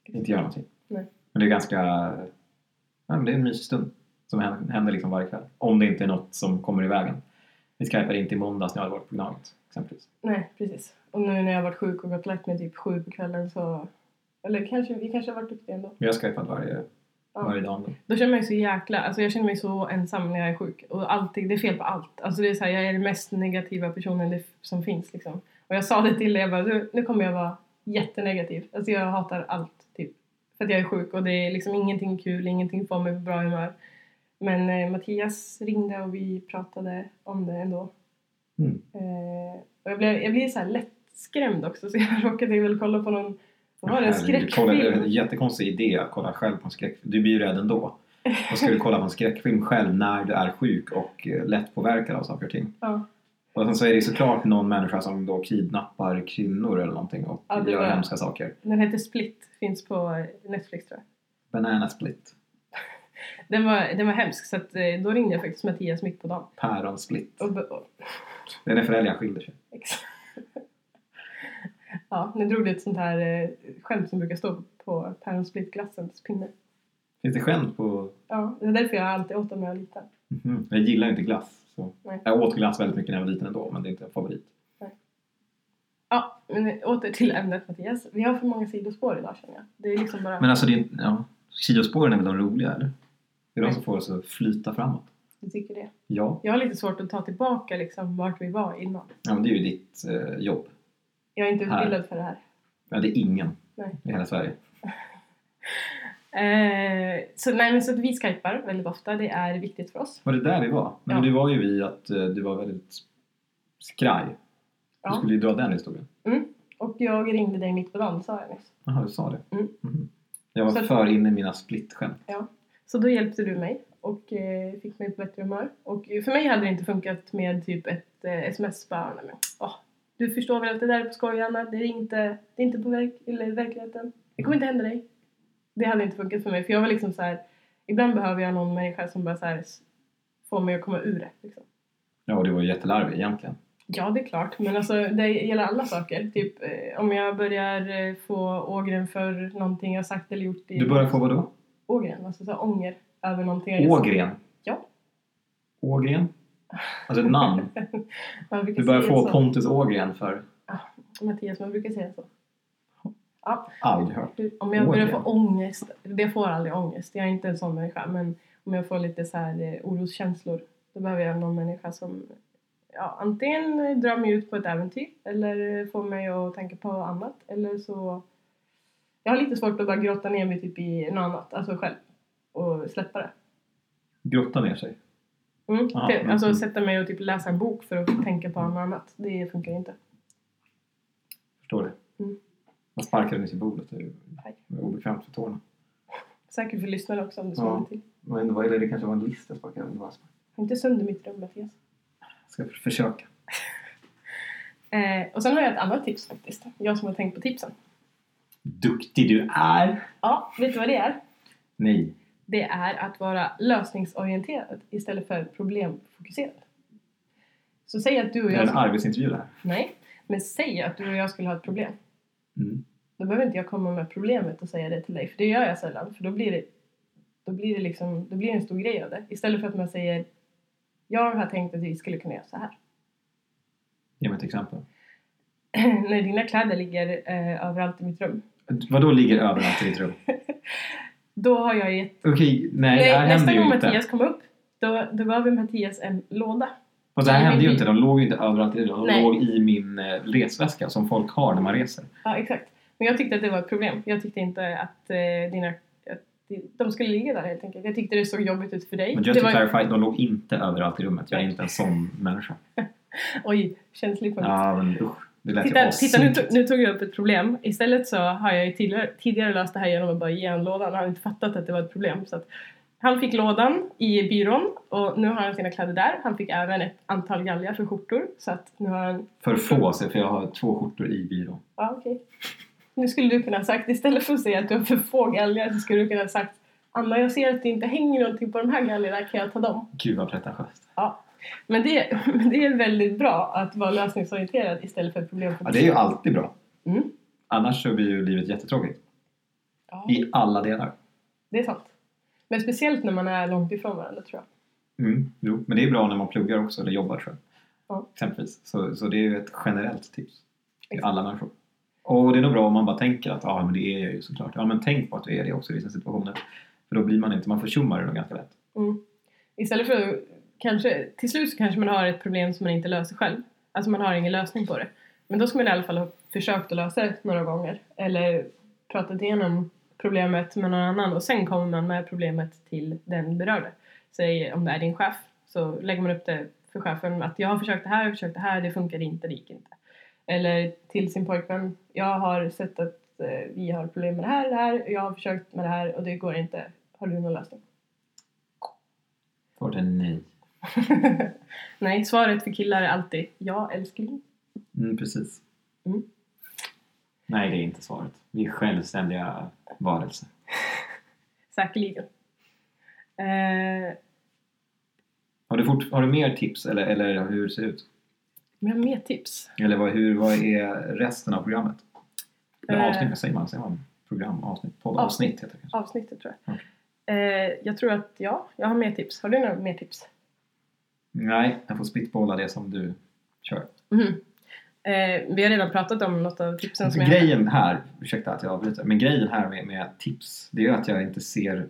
B: inte gör någonting.
A: Nej.
B: Men det är ganska, ja, men det är en mysig stund som händer, händer liksom varje kväll. Om det inte är något som kommer i vägen. Vi skypade inte i måndags när jag hade varit på Gnaget exempelvis.
A: Nej, precis. Och nu när jag har varit sjuk och gått lätt med typ sju på kvällen så... Eller kanske, vi kanske har varit duktiga ändå.
B: Men jag har skypat varje,
A: Ja.
B: varje dag. ändå.
A: Då känner man ju så jäkla... Alltså jag känner mig så ensam när jag är sjuk. Och allting, det är fel på allt. Alltså det är så här, jag är den mest negativa personen det, som finns liksom. Och jag sa det till dig, jag bara, nu, nu kommer jag vara jättenegativ. Alltså jag hatar allt typ. För att jag är sjuk och det är liksom ingenting kul, ingenting får mig på bra humör. Men eh, Mattias ringde och vi pratade om det ändå.
B: Mm.
A: Eh, och jag blev, jag blev så här lättskrämd också så jag *laughs* råkade väl kolla på någon, vad var det, en
B: Herregud, kolla, det är en
A: skräckfilm?
B: jättekonstig idé att kolla själv på en skräckfilm. Du blir ju rädd ändå. Och ska du kolla på en skräckfilm själv när du är sjuk och eh, lättpåverkad av saker och ting.
A: Ja,
B: Och sen så är det ju såklart någon människa som då kidnappar kvinnor eller någonting och
A: Ja, det
B: gör
A: var-
B: hemska saker.
A: den heter Split, finns på Netflix tror jag.
B: Banana split.
A: Den var, den var hemsk så att, eh, då ringde jag faktiskt Mattias mitt på dagen.
B: Päron split.
A: Och, be- och,
B: Det är när föräldrar skiljer sig.
A: ex- *laughs* ja, nu drog du ett sånt här eh, skämt som brukar stå på Päron Split-glassens pinne.
B: Finns det skämt på...
A: Ja, det är därför jag alltid åt dem när jag var liten.
B: Mhm. Jag gillar ju inte glass. Så.
A: Nej.
B: Jag åt glass väldigt mycket när jag var liten ändå men det är inte en favorit.
A: Ja, men eh, åter till ämnet Mattias. Vi har för många sidospår idag känner jag. Det är liksom bara...
B: Men alltså det är inte- ja. Sidospåren är väl de roliga eller? Det är de
A: Nej.
B: som får oss att flyta framåt.
A: Du tycker det?
B: Ja.
A: Jag har lite svårt att ta tillbaka liksom vart vi var innan.
B: Ja, men det är ju ditt eh, jobb.
A: Jag är inte
B: Här.
A: utbildad för det här.
B: Ja, det är ingen
A: Nej.
B: i hela Sverige.
A: Eh, så, nej, men så att vi skypar väldigt ofta. Det är viktigt för oss.
B: Var det där vi var? Nej,
A: Ja.
B: men det var ju vi att eh, du var väldigt skraj. Du
A: Ja.
B: skulle ju dra den historien.
A: Och jag ringde dig mitt på dagen sa jag nyss.
B: Jaha, du sa det.
A: Mm.
B: Mhm. Jag var
A: Så att-
B: för inne i mina splittskämt.
A: Så då hjälpte du mig och eh, fick mig på bättre humör. Och eh, för mig hade det inte funkat med typ ett eh, sms bara, nej, men, åh, du förstår väl att det där är på skoj Anna, det är inte, det är inte på verk- eller verkligheten. Det kommer inte hända dig. Det hade inte funkat för mig för jag var liksom så här. ibland behöver jag någon människa som bara så här, s- får mig att komma ur det. Liksom.
B: Ja, och du var ju jättelarvig egentligen.
A: Ja, det är klart. Men alltså, det gäller alla saker. Typ eh, om jag börjar eh, få ågren för någonting jag sagt eller gjort i...
B: Du började få vadå?
A: Ågren, alltså så här, ånger över någonting jag gjort.
B: Ågren?
A: Ja.
B: Ågren? Alltså
A: *laughs*
B: ett namn.
A: Man brukar
B: Du började
A: säga
B: få
A: så.
B: Pontus Ågren för
A: Mattias, man brukar säga så.
B: aldrig hört.
A: Du, Om jag börjar
B: Ågren.
A: få ångest, det får aldrig ångest, jag är inte en sån människa, men om jag får lite så här eh, oroskänslor, då behöver jag någon människa som ja, antingen eh, drar mig ut på ett äventyr eller eh, får mig att tänka på annat eller så... Jag har lite svårt att bara grotta ner mig typ i något annat, alltså själv, och släppa det.
B: Grotta ner sig.
A: Mm.
B: Aha,
A: Typ,
B: mm,
A: Alltså
B: mm.
A: sätta mig och typ läsa en bok för att tänka på något annat, det funkar inte.
B: Förstår du?
A: Mm.
B: Man sparkade nyss i bordet. Det
A: Aj.
B: var obekvämt för tårna.
A: Säkert för lyssnare också om du
B: Ja.
A: svarar till.
B: Men vad är det? Det kanske var en list jag sparkade. Det var en spark.
A: Inte sönder mitt rum, Mattias.
B: Ska försöka.
A: Eh, och sen har jag ett annat tips faktiskt. Jag som har tänkt på tipsen.
B: Duktig du är!
A: Ja, vet du vad det är?
B: Nej.
A: Det är att vara lösningsorienterad istället för problemfokuserad. Så säg att du och
B: Det är
A: jag...
B: en arbetsintervju det här.
A: Nej, men säg att du och jag skulle ha ett problem.
B: Mm.
A: Då behöver inte jag komma med problemet och säga det till dig, för det gör jag sällan. För då blir det, då blir det, liksom, då blir det en stor grej av det. Istället för att man säger jag har tänkt att vi skulle kunna göra så här.
B: Ge mig ett exempel.
A: *clears throat* när dina kläder ligger eh, överallt i mitt rum.
B: Vad då ligger överallt i ditt rum?
A: Då har jag gett...
B: Okej, nej, det här
A: Nej, nästa
B: händer ju
A: gång
B: inte.
A: Mattias kom upp, då, då gav vi Mattias en låda.
B: Och det här
A: Nej,
B: hände ju
A: vi-
B: inte. De låg ju inte överallt i ditt rum. De
A: Nej.
B: låg i min eh, resväska som folk har när man reser.
A: Ja, exakt. Men jag tyckte att det var ett problem. Jag tyckte inte att eh, dina... Att de skulle ligga där helt enkelt. Jag tyckte det såg jobbigt ut för dig.
B: Men
A: det
B: just to clarify, de låg inte överallt i rummet. Jag är inte en sån människa.
A: Oj, känslig punkt.
B: Ja, men usch. Det lät ju
A: Titta, titta nu,
B: assnyggt.
A: to- nu tog jag upp ett problem. Istället så har jag ju tidigare, tidigare löst det här genom att bara ge en låda. Han har inte fattat att det var ett problem. Så att han fick lådan i byrån och nu har han sina kläder där. Han fick även ett antal galgar för skjortor. Så att nu har han...
B: För få, så- för jag har två skjortor i byrån.
A: Ja, okej. Nu skulle du kunna ha sagt, istället för att säga att du har för få galgar så skulle du kunna ha sagt Anna, jag ser att det inte hänger någonting på de här galgarna, kan jag ta dem?
B: Gud vad pretentiöst.
A: Ja. Men det, *laughs* men det är väldigt bra att vara lösningsorienterad istället för
B: Ja, det är ju
A: problemfokuserad.
B: alltid bra.
A: Mm.
B: Annars så blir ju livet jättetråkigt.
A: Ja.
B: I alla delar.
A: Det är sant. Men speciellt när man är långt ifrån varandra tror jag.
B: Mm, jo. Men det är bra när man pluggar också, eller jobbar tror jag.
A: Ja.
B: Exempelvis. Så, så det är ju ett generellt tips. Till
A: Exakt.
B: alla människor. Och det är nog bra om man bara tänker att ja, men det är jag ju såklart. Ja, men tänk på att du är det också i vissa situationer. För då blir man inte, man försummar det nog ganska lätt.
A: Mm. Istället för att kanske, till slut så kanske man har ett problem som man inte löser själv. Alltså man har ingen lösning på det. Men då ska man i alla fall ha försökt att lösa det några gånger. Eller pratat igenom problemet med någon annan och sen kommer man med problemet till den berörde. Säg om det är din chef så lägger man upp det för chefen att jag har försökt det här, jag har försökt det här, det funkar inte, det gick inte. Eller till sin pojkvän, jag har sett att eh, vi har problem med det här, det här, jag har försökt med det här och det går inte. Har du någon lösning?
B: Svaret är nej.
A: *laughs* Nej, svaret för killar är alltid ja älskling.
B: Mm, precis.
A: Mm.
B: Nej, det är inte svaret. Vi är självständiga varelser.
A: Säkerligen. Eh,
B: Har du, fort, har du mer tips eller, eller hur ser det ut?
A: men jag har mer tips.
B: Eller vad, hur, vad är resten av programmet? Eller
A: Eh.
B: avsnitt, vad säger man? Säger man program, avsnitt, podd, avsnitt heter det kanske.
A: Avsnittet tror jag. Eh, jag tror att ja, jag har mer tips. Har du några mer tips?
B: Nej, jag får spitbolla det som du kör.
A: Mhm. Eh, vi har redan pratat om något av tipsen som jag hade.
B: grejen här, ursäkta att jag avbryter, men grejen här med, med tips, det är ju att jag inte ser...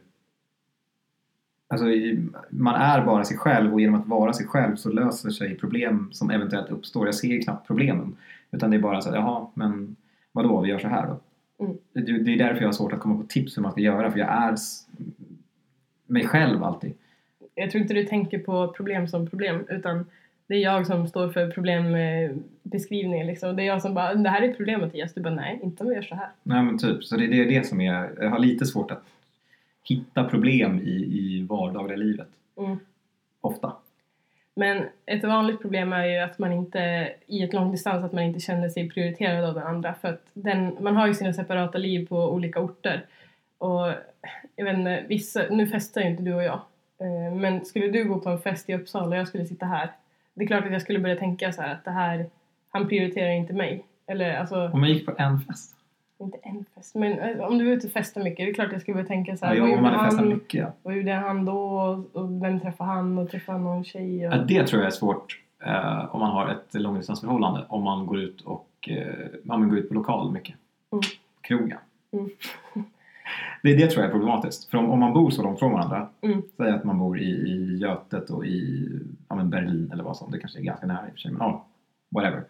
B: Alltså, i- man är bara sig själv och genom att vara sig själv så löser sig problem som eventuellt uppstår. Jag ser ju knappt problemen. Utan det är bara så här, jaha, men vadå, vi gör så här då.
A: Mm.
B: Det, det är därför jag har svårt att komma på tips hur man ska göra, för jag är s- mig själv alltid.
A: Jag tror inte du tänker på problem som problem utan det är jag som står för problembeskrivningen liksom. Det är jag som bara, det här är ett problem Mattias. Du bara, nej, inte om vi gör så här.
B: Nej men typ, så det, det är det som är, jag har lite svårt att hitta problem i, i vardagliga livet.
A: Mm.
B: Ofta.
A: Men ett vanligt problem är ju att man inte i ett långdistans att man inte känner sig prioriterad av den andra för att den, man har ju sina separata liv på olika orter och jag vet inte, vissa, nu festar ju inte du och jag eh, men skulle du gå på en fest i Uppsala och jag skulle sitta här det är klart att jag skulle börja tänka så här att det här han prioriterar inte mig eller alltså
B: Om jag gick på en fest.
A: inte en fest men eh, om du var ute och festade mycket det är klart att jag skulle börja tänka så här
B: Ja, jag
A: vad,
B: och
A: gjorde
B: man hade festat
A: han,
B: mycket. Ja.
A: vad gjorde han då och, och vem träffade han och träffade han någon tjej och,
B: Ja, det tror jag är svårt eh, om man har ett långdistansförhållande. Om man går ut och eh, ja, men går ut på lokal mycket.
A: Mm.
B: Krogen.
A: Mm.
B: *laughs* Det, det tror jag är problematiskt. För om, om man bor så långt från varandra.
A: Mm.
B: Säg att man bor i, i Götet och i ja, men Berlin eller vad som. Det kanske är ganska nära i och för sig. Men ja, whatever.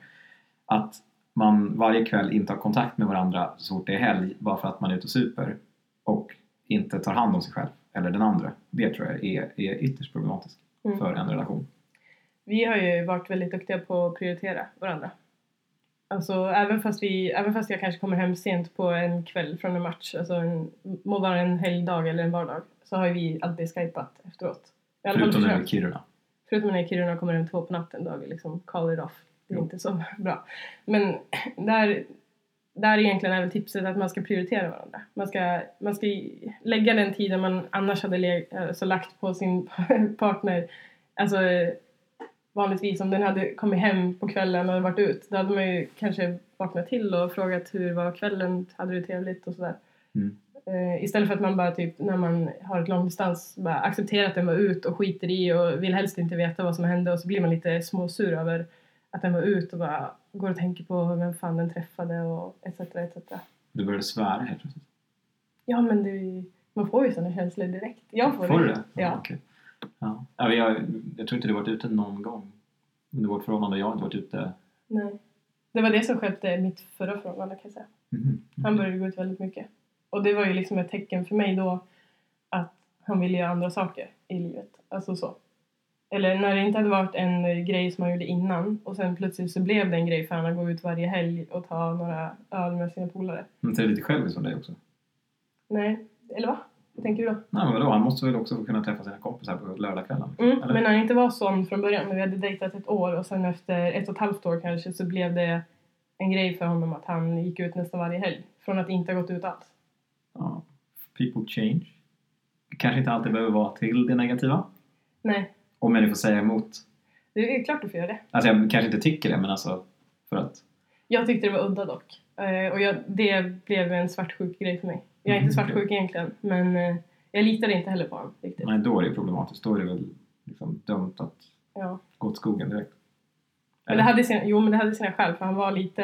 B: Att man varje kväll inte har kontakt med varandra så fort det är helg. Bara för att man är ute och super. Och inte tar hand om sig själv. Eller den andra. Det tror jag är, är ytterst problematiskt
A: Mm.
B: för en relation.
A: vi har ju varit väldigt duktiga på att prioritera varandra. Alltså även fast, vi, även fast jag kanske kommer hem sent på en kväll från en match, alltså en, må vara en helgdag eller en vardag, så har ju vi alltid skypat efteråt. I alla fall
B: Förutom nu i
A: försökt.
B: Kiruna.
A: Förutom när Kiruna kommer hem två på natten, då har vi liksom call it off. Det är
B: Jo.
A: inte så *laughs* bra. Men där, där är egentligen även tipset att man ska prioritera varandra. Man ska, man ska lägga den tiden man annars hade le, alltså lagt på sin *laughs* partner. Alltså eh, vanligtvis om den hade kommit hem på kvällen och varit ut, då hade man ju kanske vaknat till och frågat hur var kvällen, hade du trevligt och sådär.
B: Mm.
A: Eh, istället för att man bara typ när man har ett långdistans bara accepterar att den var ut och skiter i och vill helst inte veta vad som hände och så blir man lite småsur över att den var ut och bara går och tänker på vem fan den träffade och etc. etc.
B: Du började svära helt plötsligt.
A: Ja men det är ju, man får ju sådana känslor direkt. Jag får,
B: Får du
A: det.
B: det?
A: Ja.
B: okej. ja. Ja, men jag, jag tror inte du varit ute någon gång under vårt förhållande och jag har inte varit ute.
A: Nej. Det var det som stjälpte mitt förra förhållande kan jag säga.
B: Mhm.
A: Han började gå ut väldigt mycket. Och det var ju liksom ett tecken för mig då att han ville göra andra saker i livet. Alltså så. Eller när det inte hade varit en eh, grej som han gjorde innan och sen plötsligt så blev det en grej för han att gå ut varje helg och ta några öl med sina polare.
B: Men det är lite själviskt av dig också.
A: Nej, eller va? Vad tänker du då?
B: Nej, men vadå? Han måste väl också få kunna träffa sina kompisar på lördagskvällen?
A: Mm,
B: Eller?
A: men när han inte var sån från början, men vi hade dejtat ett år och sen efter ett och ett halvt år kanske så blev det en grej för honom att han gick ut nästan varje helg. Från att inte ha gått ut alls.
B: Ja. People change. Det Kanske inte alltid behöver vara till det negativa.
A: Nej,
B: Om jag nu får säga emot.
A: det är klart du får göra det.
B: Alltså jag kanske inte tycker det men alltså för att.
A: Jag tyckte det var udda dock. Eh, och jag, det blev en svartsjuk grej för mig. Jag är inte
B: Mm, okej.
A: svartsjuk egentligen, men eh, jag litade inte heller på honom riktigt.
B: Nej, då är det problematiskt. Då är det väl liksom dömt att
A: Ja.
B: gå åt skogen direkt.
A: Men det hade sina, jo, men det hade sina skäl, för han var lite...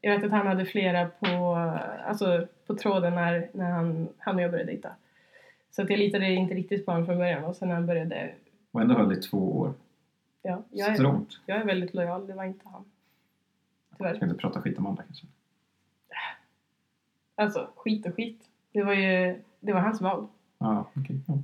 A: Jag vet att han hade flera på, alltså, på tråden när, när han, han och jag började dejta. Så att jag litade inte riktigt på honom från början och sen när han började...
B: Och ändå höll det i två år.
A: Ja, jag är,
B: Strångt.
A: jag är väldigt lojal, det var inte han.
B: Jag
A: Tyvärr.
B: ska inte prata skit om andra kanske.
A: Alltså, skit och skit. Det var ju... Det var hans val.
B: Ja, okej. Ja.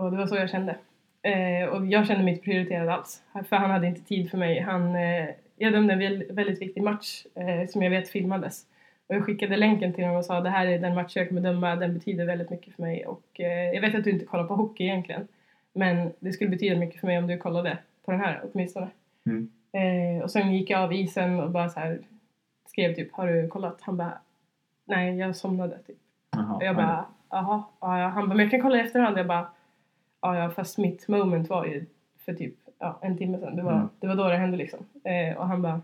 A: Och det var så jag kände. Eh, och jag kände mig inte prioriterad alls. För han hade inte tid för mig. Han, eh, jag dömde en väl- väldigt viktig match eh, som jag vet filmades. Och jag skickade länken till honom och sa det här är den match jag kommer döma. Den betyder väldigt mycket för mig. Och eh, jag vet att du inte kollar på hockey egentligen. Men det skulle betyda mycket för mig om du kollade på den här åtminstone.
B: Mm.
A: Eh, och sen gick jag av isen och bara så här skrev typ har du kollat? Han bara nej jag somnade typ.
B: Jaha,
A: Och jag
B: oj
A: bara, jaha. Ja, ja. Han bara, men jag kan kolla i efterhand. Jag bara, ja, ja fast mitt moment var ju för typ ja, en timme sedan. Det var,
B: Mm.
A: det var då det hände liksom. Eh, och han bara,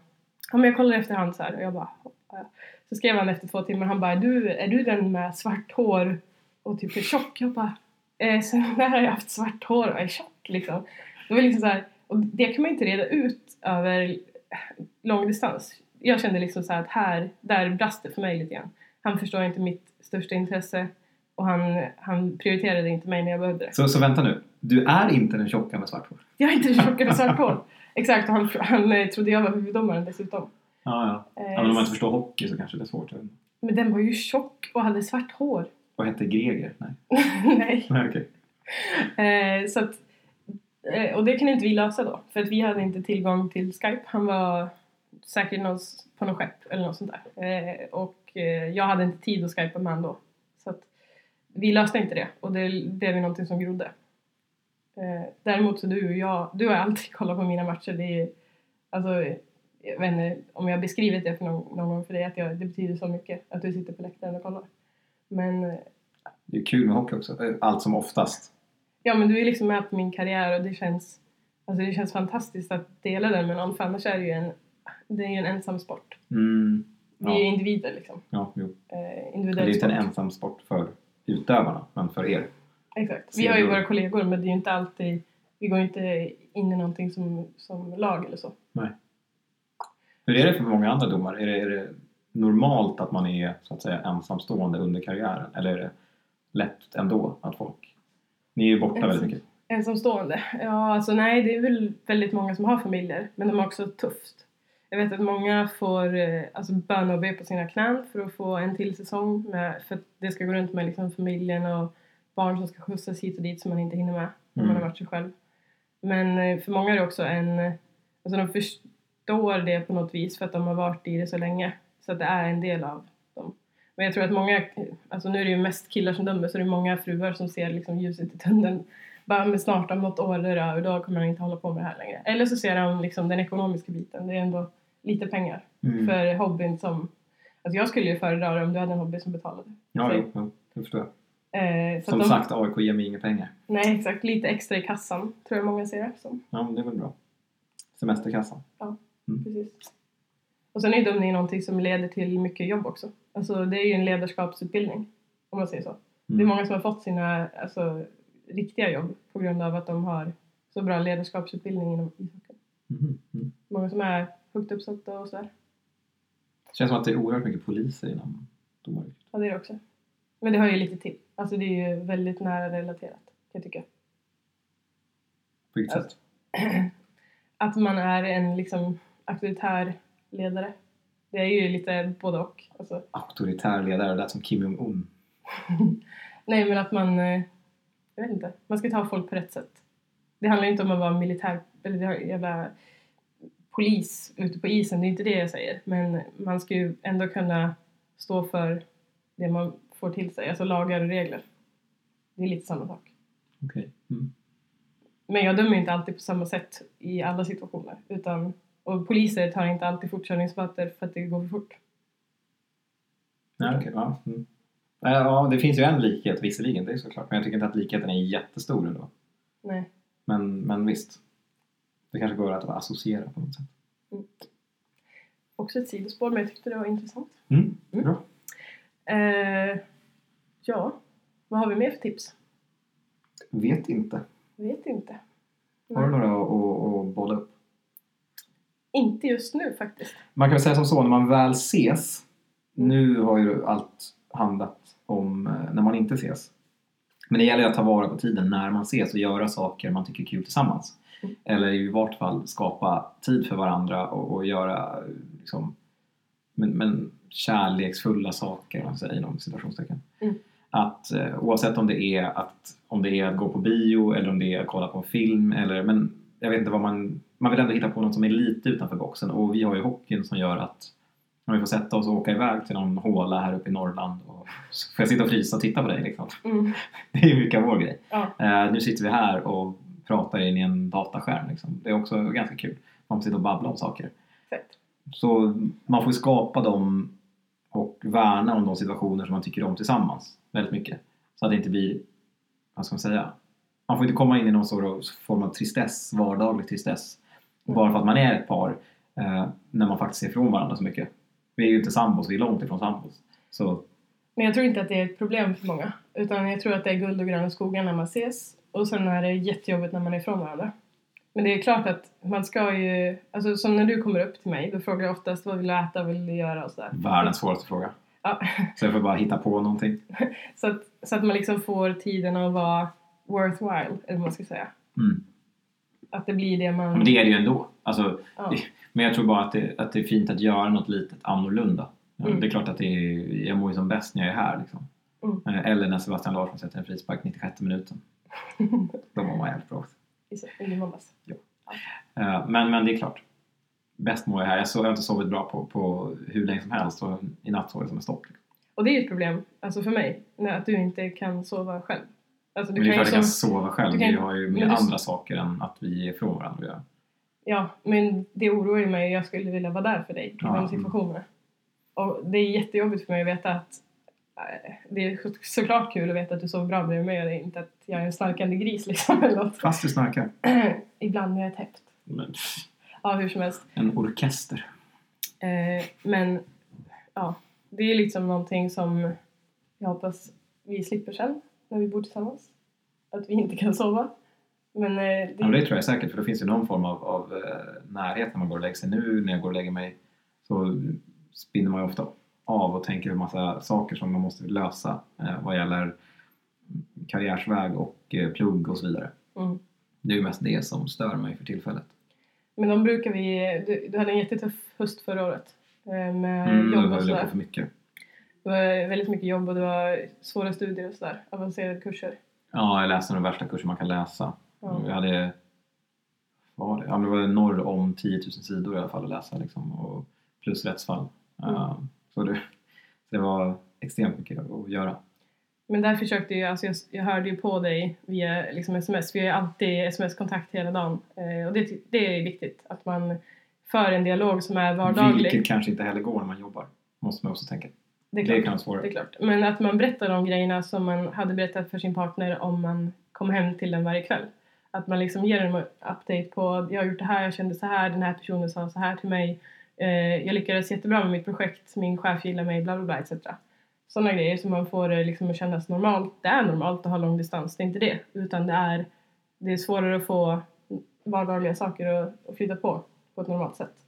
A: ja men jag kollar i efterhand så här. Och jag bara, ja, ja. Så skrev han efter två timmar, han bara, du, är du den med svart hår och typ är tjock? Jag bara, eh, sen när har jag haft svart hår och är tjock liksom? Det var liksom så här, och det kan man inte reda ut över långdistans. Jag kände liksom så här att här, där brast det för mig lite grann. Han förstår inte mitt största intresse och han, han prioriterade inte mig när jag behövde det.
B: då. Så, så vänta nu. Du är inte den tjocka med svart hår?
A: Jag är inte chockad med svart
B: *laughs*
A: hår. Exakt, och han, han eh, trodde jag var huvuddomaren dessutom.
B: Ja, ja.
A: Eh,
B: ja men om man inte förstår hockey så kanske det är svårt. jag vet inte.
A: men den var ju tjock och hade svart hår. *laughs*
B: Vad hette Greger? Nej,
A: Nej.
B: Nej okej.
A: *laughs* Eh, så att, eh, och det kunde inte vi lösa då, för att vi hade inte tillgång till Skype. Han var säkert någon, på något skepp eller något sånt där. Eh, och eh, jag hade inte tid att skypa med honom då. Så att vi löste inte det och det blev ju någonting som grodde. Eh, däremot så du och jag, du har alltid *laughs* kollat på mina matcher. Det är, alltså, jag vet inte om jag har beskrivit det för någon, någon gång för dig, att jag, det betyder så mycket att du sitter på läktaren och kollar. Men eh,
B: Det är kul med hockey också. Eh, Allt som oftast.
A: ja men du är liksom med på min karriär och det känns, alltså det känns fantastiskt att dela den med någon för annars är det ju en, det är ju en ensam sport.
B: Mm.
A: Vi är ju
B: Ja,
A: individer liksom.
B: ja jo.
A: Eh,
B: Det är
A: individuell
B: inte
A: sport.
B: en ensam sport för utövarna, men för er.
A: Exakt. Vi har ju
B: Sedor.
A: våra kollegor men det är ju inte alltid, vi går ju inte in i någonting som, som lag eller så.
B: Hur är det för många andra domare? Är det, är det normalt att man är så att säga ensamstående under karriären? Eller är det lätt ändå att folk... Ni är ju borta
A: Ensam-
B: väldigt mycket.
A: Ensamstående? Ja, alltså nej, det är väl väldigt många som har familjer, men de har också tufft. Jag vet att många får eh, alltså, böna och be på sina knän för att få en till säsong, med, för att det ska gå runt med liksom, familjen och barn som ska skjutsas hit och dit som man inte hinner med när man
B: Mm.
A: har matcher själv. Men eh, för många är det också en... eh, Alltså de förstår det på något vis för att de har varit i det så länge, så att det är en del av dem. Men jag tror att många, alltså nu är det ju mest killar som dömer, så det är många fruar som ser liksom ljuset i tunneln bara men snart om något år är det över, då kommer han inte hålla på med det här längre. Eller så ser han liksom den ekonomiska biten, det är ändå lite pengar
B: Mm.
A: för hobbyn som... Alltså jag skulle ju föredra det om du hade en hobby som betalade.
B: Ja, jo, jo, det förstår jag.
A: Eh, så
B: Som
A: att de,
B: sagt, AIK ger mig inga pengar.
A: Nej exakt, lite extra i kassan tror jag många ser det som.
B: Ja, men det är väl bra. Semesterkassan.
A: Precis. Och sen är ju dömning någonting som leder till mycket jobb också. Alltså det är ju en ledarskapsutbildning om man säger så. Det är
B: Mm.
A: många som har fått sina alltså, riktiga jobb på grund av att de har så bra ledarskapsutbildning inom ishockeyn.
B: Mm. Mm.
A: många som är högt uppsatta och sådär.
B: känns som att det är oerhört mycket poliser inom domaryrket.
A: Ja, det är det också. Men det hör ju lite till. Alltså det är ju väldigt nära relaterat, kan jag tycka.
B: På vilket
A: Ja.
B: sätt?
A: Att man är en liksom auktoritär ledare. Det är ju lite både och. Alltså,
B: Auktoritär ledare, det lät som Kim Jong-Un.
A: nej, men att man... eh, Jag vet inte. Man ska ta folk på rätt sätt. Det handlar ju inte om att vara militär eller det här jävla polis ute på isen. Det är inte det jag säger. Men man ska ju ändå kunna stå för det man får till sig. Alltså lagar och regler. Det är lite samma sak.
B: Okej. Mm.
A: Men jag dömer inte alltid på samma sätt i alla situationer. Utan, och poliser tar inte alltid fortkörningsböter för att det går för fort.
B: Nej, okej. Ja. Mm. Äh, ja, det finns ju en likhet visserligen, det är såklart. Men jag tycker inte att likheten är jättestor ändå.
A: Nej.
B: Men, men visst. Det kanske går att associera på något sätt.
A: Också ett sidospår, men jag tyckte det var intressant.
B: Mm.
A: Mm.
B: Bra.
A: Eh, ja, vad har vi mer för tips?
B: Vet inte.
A: Vet inte.
B: Har du
A: Nej.
B: några att- att att bolla upp?
A: Inte just nu faktiskt.
B: Man kan väl säga som så, när man väl ses. Nu har ju allt handlat om eh, när man inte ses. Men det gäller ju att ta vara på tiden när man ses och göra saker man tycker är kul tillsammans.
A: Mm.
B: Eller i vart fall skapa tid för varandra och, och göra eh, liksom, men, men kärleksfulla saker, om man säger inom citationstecken.
A: Mm.
B: Att eh, oavsett om det, är att, om det är att gå på bio eller om det är att kolla på en film eller men jag vet inte vad man, man vill ändå hitta på något som är lite utanför boxen och vi har ju hockeyn som gör att om vi får sätta oss och åka iväg till någon håla här uppe i Norrland och så får jag sitta och frysa och titta på dig liksom. *laughs*
A: Mm. *laughs*
B: Det är ju mycket av vår grej.
A: Ja.
B: Eh, nu sitter vi här och pratar in i en dataskärm liksom. Det är också ganska kul. Man får sitta och babbla om saker.
A: Fett.
B: Så man får ju skapa dem och värna om de situationer som man tycker om tillsammans väldigt mycket. Så att det inte blir, vad ska man säga, man får inte komma in i någon sorts form av tristess, vardaglig tristess. Bara för att man är ett par, eh, när man faktiskt är ifrån varandra så mycket. Vi är ju inte sambos, vi är långt ifrån sambos. Så
A: Men jag tror inte att det är ett problem för många. Utan jag tror att det är guld och gröna skogar när man ses. Och sen är det jättejobbigt när man är ifrån varandra. Men det är klart att man ska ju... Alltså som när du kommer upp till mig, då frågar jag oftast vad vill du äta, vad vill du göra och sådär.
B: världens svåraste fråga.
A: Ja.
B: Så jag får bara hitta på någonting.
A: Så att, så att man liksom får tiden att vara worthwhile, eller vad man ska säga.
B: Mm.
A: Att det blir det man...
B: Men det är det ju ändå. Alltså,
A: ja.
B: Men jag tror bara att det, att det är fint att göra något litet annorlunda. Ja,
A: Mm.
B: Det är klart att det är, jag mår ju som bäst när jag är här. Liksom.
A: Mm.
B: Eh, Eller när Sebastian Larsson sätter en frispark
A: *laughs*
B: 96 minuten. Då mår man jävligt bra också.
A: I så- I måndags.
B: Eh, Men, men det är klart. Bäst mår jag här. Jag, sov, jag har inte sovit bra på, på hur länge som helst och i natt sov jag som en stock.
A: Och det är ju ett problem, alltså för mig, när att du inte kan sova själv. Alltså
B: Men
A: du
B: det är
A: kan
B: klart
A: ju
B: att jag
A: som...
B: kan sova själv.
A: du kan-
B: Vi har ju mer
A: men du-
B: andra saker än att vi är ifrån varandra att göra.
A: Ja, men det oroar ju mig. Jag skulle vilja vara där för dig i
B: Ja,
A: de
B: mm.
A: situationerna. Och det är jättejobbigt för mig att veta att eh, det är så- såklart kul att veta att du sover bra bredvid mig och det är inte att jag är en snarkande gris liksom *laughs* eller något.
B: Fast du snarkar.
A: Ibland när jag är täppt.
B: Men, pff,
A: Ja, hur som helst.
B: En orkester.
A: Eh, men ja, det är liksom någonting som jag hoppas vi slipper sen när vi bor tillsammans. Att vi inte kan sova. Men eh,
B: Ja, men
A: det,
B: det tror jag säkert, för det finns ju någon form av, av eh, närhet när man går och lägger sig. Nu när jag går och lägger mig så spinner man ju ofta av och tänker på massa saker som man måste lösa eh, vad gäller karriärsväg och eh, plugg och så vidare.
A: mm.
B: Det är ju mest det som stör mig för tillfället.
A: men de brukar vi... Du, du hade en jättetuff höst förra året. Eh, med
B: Mm, det
A: jobb
B: var
A: och
B: ju på
A: sådär.
B: för mycket.
A: Det var väldigt mycket jobb och det var svåra studier och sådär. Avancerade kurser.
B: Ja, jag läste den värsta kursen man kan läsa.
A: Ja.
B: Jag hade, vad var det? Ja, men det var norr om 10 000 sidor i alla fall att läsa liksom, och plus rättsfall.
A: Mm.
B: Eh, så det, det var extremt mycket att göra.
A: Men där försökte jag, alltså jag, jag hörde ju på dig via liksom sms, vi har ju alltid sms-kontakt hela dagen. Eh, och det, ty- det är viktigt, att man för en dialog som är vardaglig.
B: Vilket kanske inte heller går när man jobbar. Måste man också tänka.
A: det, är
B: Det
A: klart,
B: kan vara svårare.
A: det är klart. Men att man berättar de grejerna som man hade berättat för sin partner om man kom hem till den varje kväll. Att man liksom ger en update på, jag har gjort det här, jag kände så här, den här personen sa så här till mig. Eh, jag lyckades jättebra med mitt projekt, min chef gillar mig, bla bla bla etc. Sådana grejer som man får eh, liksom att kännas normalt. Det är normalt att ha lång distans, det är inte det. Utan det är,
B: Mm.
A: det är svårare att få vardagliga saker att, att flytta på, på ett normalt sätt.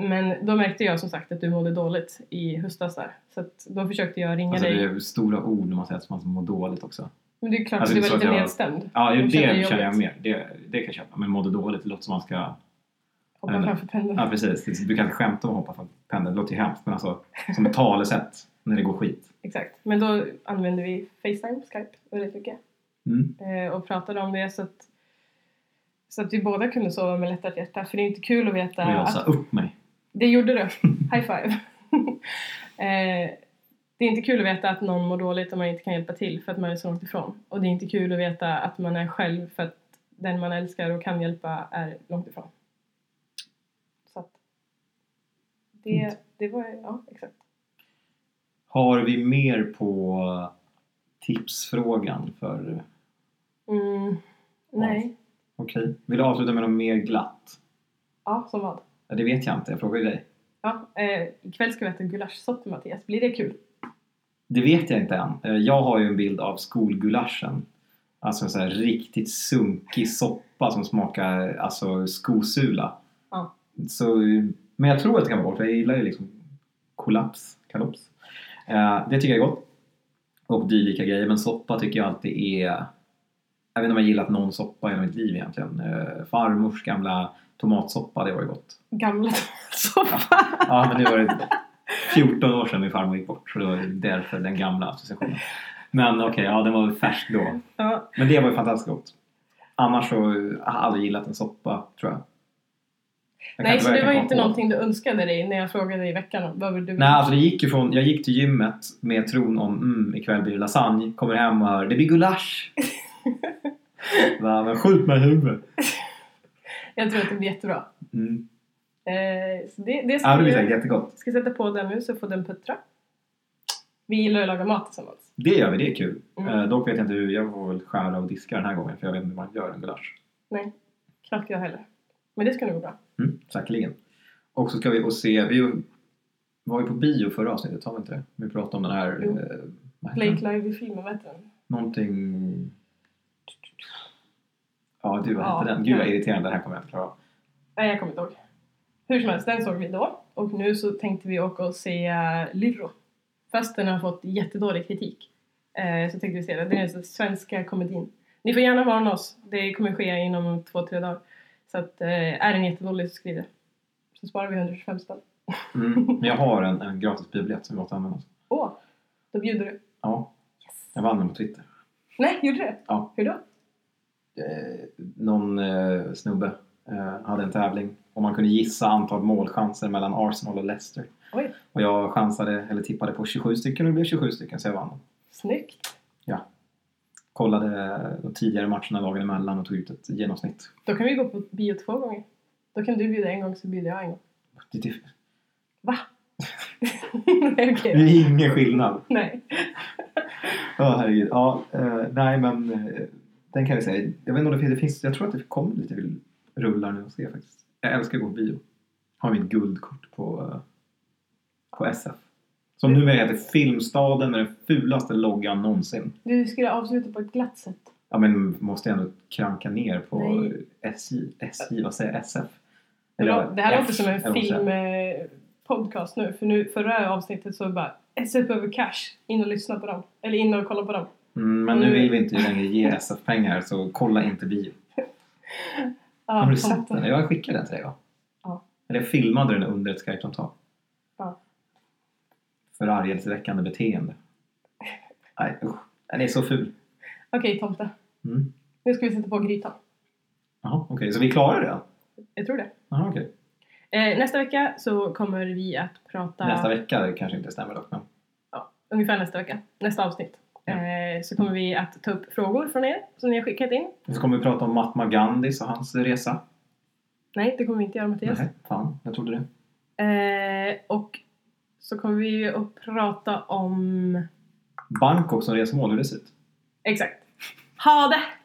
A: Men då märkte jag som sagt att du mådde dåligt i höstas där. Så att då försökte jag ringa
B: Alltså det
A: dig.
B: är stora ord när man säger att man mår dåligt också.
A: Men det är klart
B: alltså,
A: att
B: det
A: du var
B: är så att
A: lite
B: jag-
A: nedstämd.
B: Ja,
A: Jag
B: det
A: känner det
B: känner jag
A: jobbigt.
B: mer. Det, det kan jag köpa. Men mådde dåligt, det låter som man ska...
A: Hoppa
B: Eller-
A: framför pendeln.
B: Mm. Ja, precis. Det- Du kan inte skämta om att hoppa från pendeln. Det låter ju hemskt. Men alltså, som ett talesätt när det går skit.
A: Exakt. Men då använde vi Facetime, Skype väldigt mycket.
B: Mm.
A: eh, och pratade om det så att, så att vi båda kunde sova med lättat hjärta. För det är inte kul att veta
B: Och jag
A: att
B: sa upp mig.
A: det gjorde du.
B: *laughs*
A: High five! *laughs* eh, det är inte kul att veta att någon mår dåligt och man inte kan hjälpa till för att man är så långt ifrån. Och det är inte kul att veta att man är själv för att den man älskar och kan hjälpa är långt ifrån. Så att det, det var, ja exakt.
B: Har vi mer på tipsfrågan för...
A: Mm, nej.
B: Okej. Vill du avsluta med något mer glatt?
A: Ja, som vad?
B: Ja, det vet jag inte. Jag frågar ju dig.
A: Ja, eh, ikväll ska vi äta gulaschsoppa Mattias. Blir det kul?
B: Det vet jag inte än. Eh, Jag har ju en bild av skolgulaschen. Alltså en sån här riktigt sunkig soppa som smakar alltså, skosula.
A: Ja.
B: Så, men jag tror att det kan vara gott. för Jag gillar ju liksom kollaps, kalops. Eh, det tycker jag är gott. Och dylika grejer. Men soppa tycker jag alltid är... Jag vet inte om jag gillat någon soppa i hela mitt liv egentligen. Eh, farmors gamla tomatsoppa, det var ju gott.
A: Gamla *laughs* soppa.
B: Ja,
A: *laughs*
B: men det var det 14 år sedan min farmor gick bort så det var ju därför den gamla associationen. Men okej, ja den var väl färsk då.
A: Ja.
B: Men det var ju fantastiskt gott. Annars så har jag aldrig gillat en soppa, tror jag. jag kan
A: Nej, så det
B: verkligen
A: var
B: komma
A: inte
B: på.
A: någonting du önskade dig när jag frågade dig i veckan om vad vill du
B: Nej, alltså det gick ju från, jag gick till gymmet med tron om mm, ikväll blir det lasagne, kommer hem och hör det
A: *laughs*
B: blir gulasch. Va, men skjut mig i huvudet.
A: Jag tror att det blir jättebra.
B: Mm.
A: Eh, så det, det
B: Ja,
A: ska
B: det blir
A: vi
B: säkert
A: göra.
B: jättegott.
A: ska sätta på den nu så får den puttra. Vi gillar att laga mat tillsammans.
B: Det gör vi, det är kul.
A: Mm.
B: Eh, dock vet jag inte hur, jag får väl skära och diska den här gången för jag vet inte hur man gör en gulasch.
A: Knappt jag heller. Men det ska nog gå bra.
B: Mm, säkerligen. Och så ska vi och se, vi var ju på bio förra avsnittet, har vi inte det? Vi pratade om den här,
A: Jo.
B: eh, vad heter
A: Blake
B: den?
A: Lively filmen, vet du den?
B: Någonting... Ja, du vad
A: Ja,
B: hette den? Gud vad
A: nej.
B: irriterande, det här kommer jag inte klara av.
A: Nej, jag kommer inte ihåg. Hur som helst, den såg vi då. Och nu så tänkte vi åka och se eh, Lyrro. Fast den har fått jättedålig kritik. Eh, så tänkte vi se den. Det är den svenska komedin. Ni får gärna varna oss. Det kommer ske inom två, tre dagar. Så att, eh, är den jättedålig så skriv det. Så sparar vi 125 spänn.
B: Mm. *laughs* Men jag har en, en gratis biobiljett som vi måste använda oss av.
A: Åh, då bjuder du.
B: Ja,
A: Yes.
B: jag vann den på Twitter.
A: Nej, gjorde du det?
B: Ja.
A: Hur då?
B: Eh, någon eh, snubbe eh, hade en tävling och man kunde gissa antal målchanser mellan Arsenal och Leicester.
A: Oj,
B: Och jag chansade, eller tippade på 27 stycken och det blev 27 stycken så jag vann den.
A: snyggt.
B: kollade de tidigare matcherna lagen emellan och tog ut ett genomsnitt.
A: Då kan vi gå på bio två gånger. Då kan du bjuda en gång så bjuder jag en gång. *laughs*
B: Det det-
A: Va? Nej,
B: det
A: okej.
B: är ingen skillnad.
A: Nej.
B: Ja, herregud. Ja, eh, nej, men eh, den kan vi säga. Jag vet inte om det finns, det finns jag tror att det kommer lite rullar nu och se faktiskt. Jag älskar att gå på bio. Har mitt guldkort på, eh, på SF. Som numera heter Filmstaden med den fulaste loggan någonsin.
A: Du skulle avsluta på ett glatt sätt.
B: Ja, men måste jag ändå kranka ner på
A: Nej.
B: SJ, SJ, vad säger jag, SF?
A: Eller, det här
B: F,
A: låter som
B: eller
A: en
B: vad säger jag?
A: filmpodcast nu. För nu, förra avsnittet så bara SF över cash. In och lyssna på dem. Eller in och kolla på dem.
B: Mm, men nu
A: Mm.
B: vill vi inte längre ge SF pengar så kolla inte bio.
A: Ja,
B: Har du
A: kom
B: sett
A: inte.
B: den? Jag skickade den till dig va?
A: Ja.
B: Eller jag filmade den under ett Skype-samtal.
A: Ja.
B: Förargelseväckande beteende. Nej usch. Den är så ful.
A: Okej tomte.
B: Mm.
A: Nu ska vi sätta på grytan.
B: Jaha, okej. Så vi klarar det?
A: Jag tror det.
B: Jaha, okej.
A: Eh, nästa vecka så kommer vi att prata.
B: Nästa vecka det kanske inte stämmer dock men.
A: Ungefär nästa vecka. Nästa avsnitt.
B: Ja.
A: Eh, så kommer vi att ta upp frågor från er som ni har skickat in.
B: Så kommer vi prata om Mahatma Gandhi och hans resa.
A: Nej, det kommer vi inte göra Mattias.
B: Nej, fan. Jag trodde det.
A: Eh, och så kommer vi ju att prata om...
B: Bangkok som resmål, hur det ser ut.
A: Exakt. Ha det!